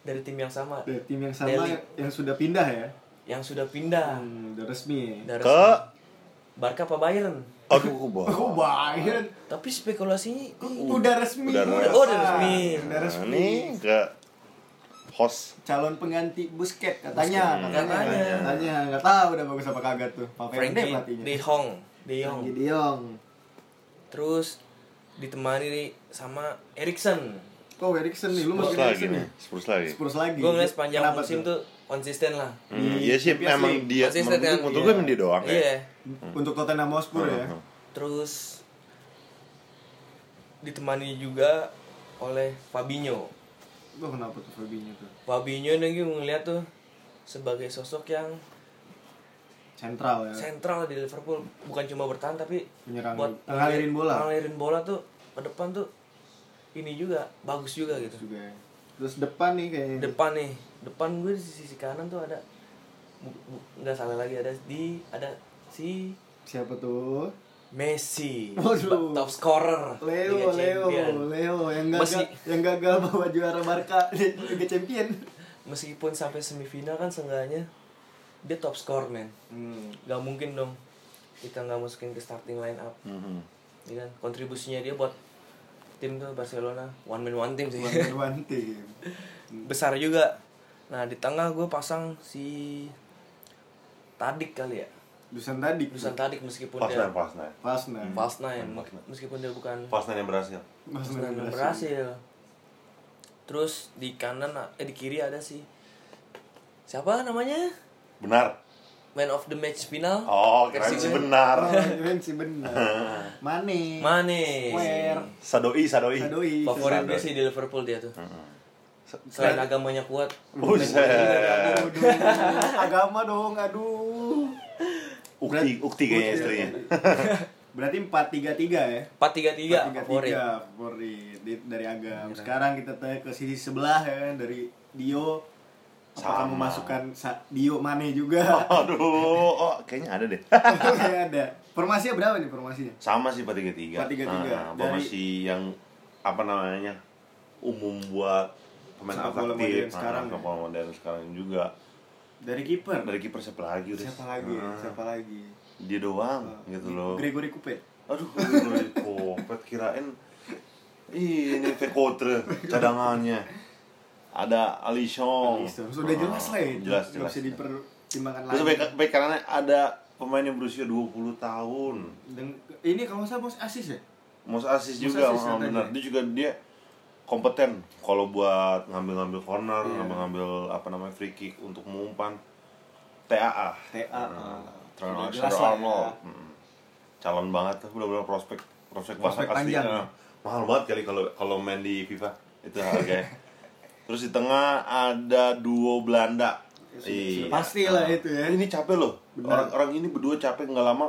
Speaker 3: dari tim yang sama
Speaker 1: Dari tim yang sama
Speaker 3: Dele.
Speaker 1: yang sudah pindah ya.
Speaker 3: yang sudah pindah
Speaker 1: Hmm, udah resmi.
Speaker 3: dari
Speaker 2: Ke
Speaker 3: Barca apa Bayern
Speaker 2: aduh kok bohong.
Speaker 1: Oh, Bayern.
Speaker 3: tapi spekulasinya
Speaker 1: Udah resmi.
Speaker 2: Udah
Speaker 1: udah
Speaker 2: resmi.
Speaker 3: oh udah resmi
Speaker 1: Udah
Speaker 2: Nah,
Speaker 1: resmi.
Speaker 2: nih ke host
Speaker 1: calon pengganti Busket katanya katanya
Speaker 3: Katanya.
Speaker 1: katanya nggak tahu udah bagus apa kagak tuh Valverde
Speaker 3: Frankie
Speaker 1: iya. pelatihnya
Speaker 3: De Jong, De Jong.
Speaker 1: Frankie De Jong
Speaker 3: Terus ditemani di- sama Erikson.
Speaker 1: kok Erikson nih lu
Speaker 2: Spurs
Speaker 1: masih
Speaker 2: lagi
Speaker 1: Erikson
Speaker 2: nih
Speaker 1: nih
Speaker 2: Spurs lagi
Speaker 1: Spurs lagi
Speaker 3: Gue ngeliat sepanjang
Speaker 1: Kenapa
Speaker 3: musim
Speaker 1: tuh?
Speaker 3: tuh konsisten lah.
Speaker 2: Hmm,
Speaker 1: Di
Speaker 2: Iya sih,
Speaker 1: Champions
Speaker 2: memang
Speaker 1: League.
Speaker 2: dia
Speaker 3: Konsisten
Speaker 2: menurut
Speaker 3: kan?
Speaker 2: gue- menurut
Speaker 1: Iya.
Speaker 2: gue emang dia doang ya.
Speaker 3: Iya.
Speaker 2: kayak.
Speaker 1: untuk Tottenham Hotspur ya
Speaker 2: Hmm.
Speaker 3: Terus ditemani juga oleh Fabinho.
Speaker 1: lu kenapa tuh Fabinho tuh
Speaker 3: Fabinho lagi ngeliat tuh sebagai sosok yang
Speaker 1: sentral ya
Speaker 3: sentral di Liverpool bukan cuma bertahan tapi
Speaker 1: Menyerang juga. Ngalirin bola.
Speaker 3: ngalirin bola tuh ke depan tuh ini juga bagus juga gitu
Speaker 1: juga ya. terus depan nih kayaknya
Speaker 3: depan nih depan gue di sisi kanan tuh ada bu- bu- nggak salah lagi ada di ada si
Speaker 1: siapa tuh
Speaker 3: Messi
Speaker 1: Waduh.
Speaker 3: top scorer Liga
Speaker 1: Leo, Leo,
Speaker 3: Champion.
Speaker 1: Leo yang gagal,
Speaker 3: Masih-
Speaker 1: yang gagal bawa juara Barca di Liga Champion.
Speaker 3: meskipun sampai semifinal kan seenggaknya dia top scorer men
Speaker 1: Hmm.
Speaker 3: nggak mungkin dong kita nggak masukin ke starting line up
Speaker 2: Mhm.
Speaker 3: ya kan kontribusinya dia buat tim tuh Barcelona one man one team sih
Speaker 1: One man, one team.
Speaker 3: besar juga nah di tengah gue pasang si Tadik kali ya
Speaker 1: Dusan tadi.
Speaker 3: Dusan Tadik meskipun
Speaker 2: Pas
Speaker 3: dia
Speaker 2: nine, pas nine.
Speaker 1: Pas nah.
Speaker 3: fast nine me- meskipun dia bukan
Speaker 2: Pas nine yang berhasil.
Speaker 1: Pas
Speaker 3: fast
Speaker 1: nah,
Speaker 3: nine
Speaker 1: berhasil.
Speaker 3: yang berhasil terus di kanan eh di kiri ada si siapa namanya
Speaker 2: Benar.
Speaker 3: man of the match final
Speaker 2: Oh, keren
Speaker 3: Versi
Speaker 2: sih
Speaker 1: Oh,
Speaker 3: gue.
Speaker 2: benar.
Speaker 1: keren sih benar. Mane.
Speaker 3: Mane
Speaker 1: Where?
Speaker 2: Sadoi, sadoi.
Speaker 1: Sadoi.
Speaker 3: favorit
Speaker 2: Sadoi.
Speaker 3: gue sih di Liverpool dia tuh
Speaker 2: Sa-
Speaker 3: selain agamanya kuat
Speaker 2: Buset.
Speaker 1: Aduh, agama dong, aduh.
Speaker 2: Ukti, ukti kayaknya istrinya.
Speaker 1: Berarti 4-3-3 ya?
Speaker 3: 4-3-3
Speaker 1: tiga
Speaker 3: favorit
Speaker 1: tiga favorit Di- dari
Speaker 2: Iya.
Speaker 1: agam sekarang kita tanya ke sisi sebelah ya kan, dari Dio apakah
Speaker 2: Sama.
Speaker 1: memasukkan Sa- Dio Mane juga
Speaker 2: Aduh, oh, kayaknya ada deh.
Speaker 1: Kayak ada formasinya berapa nih formasinya
Speaker 2: Sama sih
Speaker 1: 4-3-3.
Speaker 2: 433. Ah, apa
Speaker 1: Dari-
Speaker 2: masih yang apa namanya? Umum buat pemain
Speaker 1: Sepak bola modern
Speaker 2: atraktif. Ah,
Speaker 1: sekarang ya.
Speaker 2: sepak bola modern sekarang juga.
Speaker 1: dari kiper
Speaker 2: Dari kiper siapa lagi Riz?
Speaker 1: siapa lagi ya?
Speaker 2: Ah,
Speaker 1: siapa Ah, lagi
Speaker 2: Dia doang gitu loh.
Speaker 1: Gregory Coupe
Speaker 2: Aduh, gue kopet kirain Ih, ini Vekotre cadangannya. Ada Alishong.
Speaker 1: Iya, sudah jelas lah itu
Speaker 2: Oh. Jelas,
Speaker 1: nggak
Speaker 2: jelas.
Speaker 1: bisa dipertimbangkan
Speaker 2: Terus
Speaker 1: lagi
Speaker 2: baik, baik karena ada pemain yang berusia 20 tahun.
Speaker 1: Dan ini kalau nggak salah Mas Asis ya
Speaker 2: Mos Asis
Speaker 1: Mos
Speaker 2: juga,
Speaker 1: Asis
Speaker 2: ah,
Speaker 1: katanya.
Speaker 2: benar. Dia juga dia kompeten kalau buat ngambil-ngambil corner,
Speaker 1: Iya.
Speaker 2: ngambil-ngambil apa namanya free kick untuk mengumpan TAA.
Speaker 1: TA
Speaker 2: Nah, Trent
Speaker 1: Ah. Sudah jelas lah ya.
Speaker 2: Alexander-Arnold. Mm. Calon banget tuh, benar-benar prospek prospek banget
Speaker 1: Prospek panjang.
Speaker 2: aslinya. Mahal banget kali kalau kalau main di FIFA. Itu harganya. Terus di tengah ada duo Belanda.
Speaker 1: Iya,
Speaker 2: Iya. Nah,
Speaker 1: sudah pasti lah itu ya.
Speaker 2: Ini capek loh.
Speaker 1: Benar.
Speaker 2: Orang-orang ini berdua capek nggak lama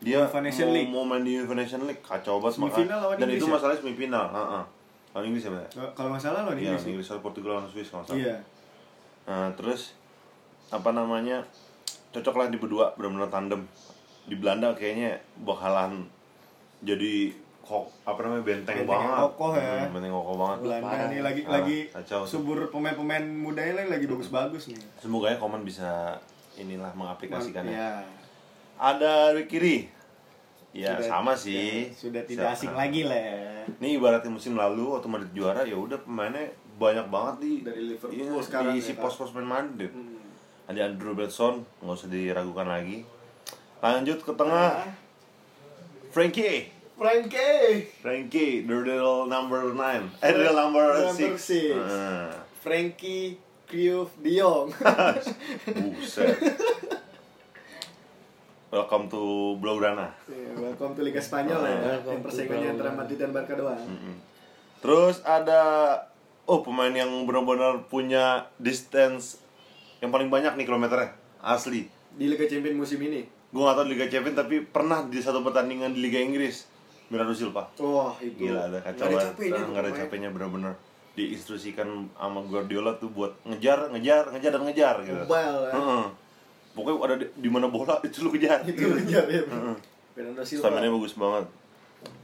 Speaker 2: dia
Speaker 1: UEFA Nation
Speaker 2: mau,
Speaker 1: League.
Speaker 2: mau main di UEFA Nation League kacau banget
Speaker 1: Semifinal
Speaker 2: makanya.
Speaker 1: lawan
Speaker 2: dan
Speaker 1: Inggris
Speaker 2: itu
Speaker 1: ya?
Speaker 2: masalahnya semifinal heeh. lawan Inggris ya bener?
Speaker 1: kalau nggak salah loh
Speaker 2: iya
Speaker 1: ini
Speaker 2: lawan Inggris atau Portugal lawan Swiss kalau nggak salah
Speaker 1: ya? iya
Speaker 2: Nah, terus apa namanya cocoklah di berdua benar-benar tandem di Belanda kayaknya bakalan jadi kok apa namanya benteng,
Speaker 1: Benteng yang
Speaker 2: banget
Speaker 1: kokoh ya.
Speaker 2: Hmm, benteng kokoh banget
Speaker 1: Belanda nih lagi
Speaker 2: Ah,
Speaker 1: lagi
Speaker 2: kacau tuh. Hmm.
Speaker 1: subur pemain-pemain mudanya lagi bagus-bagus nih
Speaker 2: semoga ya Koman bisa inilah mengaplikasikannya
Speaker 1: Iya.
Speaker 2: ada dari kiri ya
Speaker 1: Sudah-
Speaker 2: sama sih
Speaker 1: ya, sudah tidak
Speaker 2: Siapa?
Speaker 1: asing lagi lah ya.
Speaker 2: Ini ibaratnya musim lalu waktu Madrid juara ya udah pemainnya banyak banget di
Speaker 1: Dari Liverpool
Speaker 2: iya,
Speaker 1: sekarang ya,
Speaker 2: diisi
Speaker 1: Hmm. Pak.
Speaker 2: pos-pos pemain Madrid. Ada Andrew Robertson, nggak usah diragukan lagi. Lanjut ke tengah Frankie.
Speaker 1: Frankie,
Speaker 2: Frankie, the real number 9. Eh, the real number Ah,
Speaker 1: Number
Speaker 2: 6.
Speaker 1: six. Frankie Cruyff De Jong.
Speaker 2: buset. Welcome to Blaugrana.
Speaker 1: Ya, Welcome to Liga Spanyol ya.
Speaker 3: Welcome
Speaker 1: Yang persaingannya
Speaker 3: to
Speaker 1: antara Madrid dan Barca doang.
Speaker 2: Terus ada oh pemain yang benar-benar punya distance yang paling banyak nih kilometernya asli.
Speaker 1: Di Liga Champion musim ini.
Speaker 2: Gue gak tau di Liga Champions tapi pernah di satu pertandingan di Liga Inggris Bernardo Silva.
Speaker 1: Wah, itu.
Speaker 2: Gila ada kacau
Speaker 1: Nggak
Speaker 2: banget.
Speaker 1: capeknya tuh
Speaker 2: Nggak ada
Speaker 1: pemain.
Speaker 2: capeknya bener-bener diinstruksikan sama Guardiola tuh buat ngejar, ngejar, ngejar dan ngejar gitu.
Speaker 1: Mobile, ya.
Speaker 2: Heeh. Pokoknya ada di, di mana bola itu lu kejar.
Speaker 1: Itu ngejar ya. Bernardo Silva.
Speaker 2: Stamina bagus banget.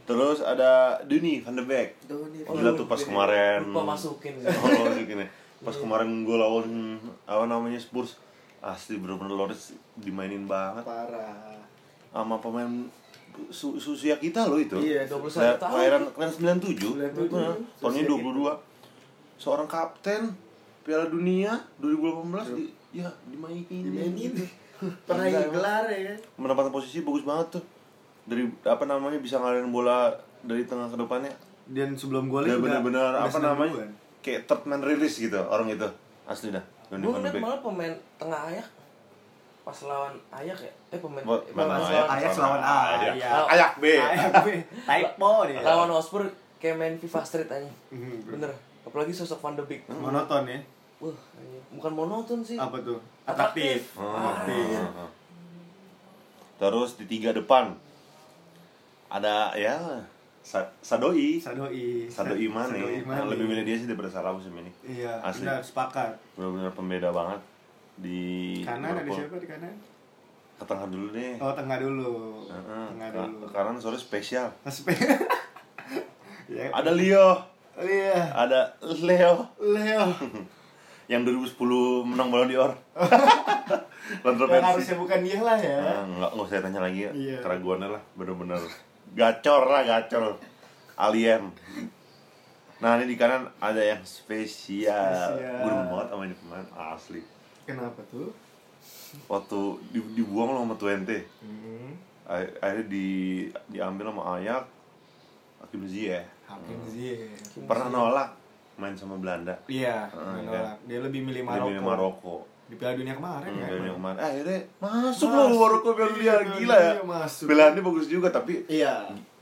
Speaker 2: Terus ada Duni Van de Beek.
Speaker 1: Donny van
Speaker 2: Gila
Speaker 1: de
Speaker 2: tuh pas
Speaker 1: Beek.
Speaker 2: kemarin.
Speaker 3: lupa masukin
Speaker 2: Oh, gini. Pas kemarin gue lawan apa namanya Spurs, asli bener-bener Loris dimainin banget
Speaker 1: Parah.
Speaker 2: sama pemain su su- usia kita loh itu.
Speaker 1: Iya,
Speaker 3: 21 tahun.
Speaker 2: Kelahiran kelahiran 97.
Speaker 1: 97.
Speaker 2: Nah, Tahunnya
Speaker 1: Usia
Speaker 2: 22. Seorang kapten Piala Dunia
Speaker 1: Iya.
Speaker 2: 2018 di ya dimainin.
Speaker 1: Dimainin.
Speaker 2: gitu.
Speaker 1: Pernah
Speaker 2: Enggak,
Speaker 1: gelar ya.
Speaker 2: Menempatkan posisi bagus banget tuh. Dari apa namanya bisa ngalirin bola dari tengah ke depannya.
Speaker 1: Dan sebelum golin
Speaker 2: Dia
Speaker 1: udah-
Speaker 2: benar-benar
Speaker 1: udah
Speaker 2: apa
Speaker 1: seneng
Speaker 2: namanya?
Speaker 1: duluan.
Speaker 2: Kayak third man release gitu orang itu. Asli dah. Donny
Speaker 3: Gue
Speaker 2: van de
Speaker 3: ngeliat
Speaker 2: Beek.
Speaker 3: malah pemain tengah ayak pas lawan ayak ya. Eh pemain
Speaker 2: Buat
Speaker 3: eh,
Speaker 2: mana
Speaker 3: pas
Speaker 2: Ayak?
Speaker 3: lawan,
Speaker 1: Ajax lawan
Speaker 2: Ayak.
Speaker 1: Ajax.
Speaker 2: Ayak B.
Speaker 1: Ayak B. Typo dia.
Speaker 3: lawan Hotspur kayak main FIFA Street aja.
Speaker 1: Mhm, bro.
Speaker 3: Bener. Apalagi sosok Van de Beek.
Speaker 1: Monoton ya.
Speaker 3: Wah, anjing. bukan monoton sih.
Speaker 1: Apa tuh?
Speaker 3: Atraktif.
Speaker 1: Atraktif.
Speaker 2: Hmm,
Speaker 1: Atraktif.
Speaker 2: hmm, hmm. Terus di tiga depan ada ya Sa- Sadoi.
Speaker 1: Sadoi.
Speaker 2: Sadoi Mane.
Speaker 1: Sadoi
Speaker 2: Nah, lebih milih dia sih daripada Sarau sih ini.
Speaker 1: Iya,
Speaker 2: Asli.
Speaker 1: benar sepakat.
Speaker 2: Benar-benar pembeda banget di
Speaker 1: Kanan ada
Speaker 2: Liverpool.
Speaker 1: siapa di kanan?
Speaker 2: Ke tengah dulu deh.
Speaker 1: Oh, tengah dulu.
Speaker 2: Heeh,
Speaker 1: Tengah
Speaker 2: ke-
Speaker 1: dulu.
Speaker 2: ke kanan sore spesial.
Speaker 1: Aspe. Ya.
Speaker 2: Ada Leo,
Speaker 1: Iya.
Speaker 2: ada Leo
Speaker 1: Leo.
Speaker 2: yang 2010 menang Ballon d'Or. Kontroversi.
Speaker 1: Yang harusnya bukan dia lah ya.
Speaker 2: Nah, nggak nggak usah tanya lagi ya.
Speaker 1: Iya.
Speaker 2: keraguannya lah bener-bener gacor lah gacor alien nah ini di kanan ada yang spesial,
Speaker 1: Spesial.
Speaker 2: gue demen banget sama ini pemain asli
Speaker 1: Kenapa tuh?
Speaker 2: waktu di- dibuang loh sama Twente
Speaker 1: Hmm.
Speaker 2: Ay- akhirnya di diambil sama Ayak Hakim Ziyech
Speaker 1: Hakim Ziyech.
Speaker 2: pernah nolak main sama Belanda
Speaker 1: Iya,
Speaker 2: Heeh,
Speaker 1: menolak. Dia lebih milih
Speaker 2: Dia
Speaker 1: Maroko.
Speaker 2: milih Maroko
Speaker 1: Di Piala Dunia kemarin
Speaker 2: Hmm,
Speaker 1: kan.
Speaker 2: dan yang
Speaker 1: Bang?
Speaker 2: kemarin eh, akhirnya masuk
Speaker 1: Masuk.
Speaker 2: loh Maroko Piala Dunia
Speaker 1: Iya,
Speaker 2: gila ya
Speaker 1: iya, masuk.
Speaker 2: Belanda bagus juga tapi
Speaker 1: Iya.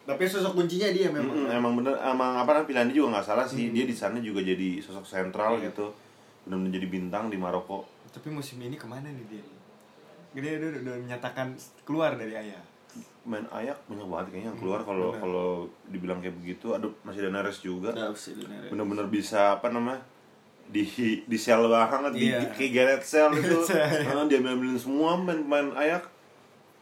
Speaker 1: Tapi sosok kuncinya dia memang.
Speaker 2: Mm-mm, emang bener emang apa namanya pilihannya juga nggak salah sih dia di sana juga jadi sosok sentral
Speaker 1: Iya.
Speaker 2: gitu benar jadi bintang di Maroko
Speaker 1: Tapi musim ini kemana nih dia? Gede udah, udah, udah menyatakan keluar dari ayah.
Speaker 2: main ayak banyak banget kayaknya yang keluar kalau kalau dibilang kayak begitu aduh masih ada Neres juga
Speaker 1: Iya.
Speaker 2: bener-bener bisa apa namanya di di sel banget di,
Speaker 1: Iya.
Speaker 2: di kayak Gareth Sale itu
Speaker 1: Gareth Sale.
Speaker 2: dia ambil semua pemain-pemain ayak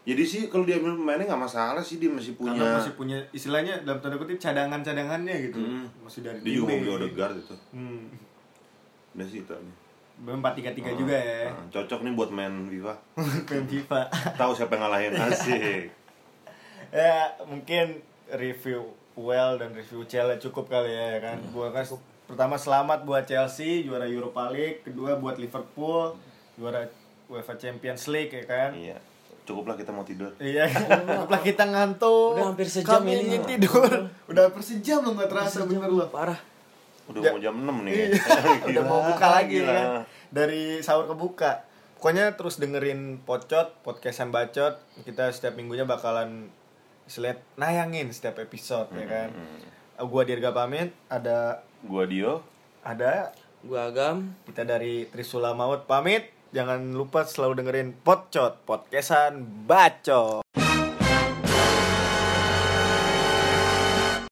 Speaker 2: jadi sih kalau dia ambil pemainnya nggak masalah sih dia masih punya
Speaker 1: Karena masih punya istilahnya dalam tanda kutip cadangan-cadangannya gitu.
Speaker 2: Mm.
Speaker 1: Masih dari
Speaker 2: dia juga mau
Speaker 1: tim B.
Speaker 2: beli Odegaard itu
Speaker 1: Hmm.
Speaker 2: udah sih itu aja.
Speaker 1: Empat tiga tiga juga ya.
Speaker 2: Nah, cocok nih buat main FIFA
Speaker 1: Pem FIFA.
Speaker 2: tahu siapa yang ngalahin
Speaker 1: Iya.
Speaker 2: asik
Speaker 1: ya mungkin review well dan review Chelsea cukup kali ya ya kan.
Speaker 2: Hmm.
Speaker 1: Gua kan pertama selamat buat Chelsea juara Europa League, kedua buat Liverpool juara UEFA Champions League ya kan.
Speaker 2: Iya. Cukuplah kita mau tidur.
Speaker 1: Iya, cukuplah kita ngantuk.
Speaker 3: Udah hampir sejam
Speaker 1: Kami
Speaker 3: ini.
Speaker 1: ingin tidur. Udah hampir sejam lo nggak terasa bener loh.
Speaker 3: Parah.
Speaker 2: Udah
Speaker 1: Ya.
Speaker 2: mau jam 6 nih.
Speaker 1: Udah mau buka lagi
Speaker 2: gila.
Speaker 1: kan. Dari sahur ke buka. Pokoknya terus dengerin Pocot, podcastan Bacot. Kita setiap minggunya bakalan selet nayangin setiap episode ya kan. Gua Dirga pamit, ada
Speaker 2: Gua Dio.
Speaker 1: ada
Speaker 3: Gua agam.
Speaker 1: kita dari Trisula Maut pamit. Jangan lupa selalu dengerin Pocot, podcastan Bacot.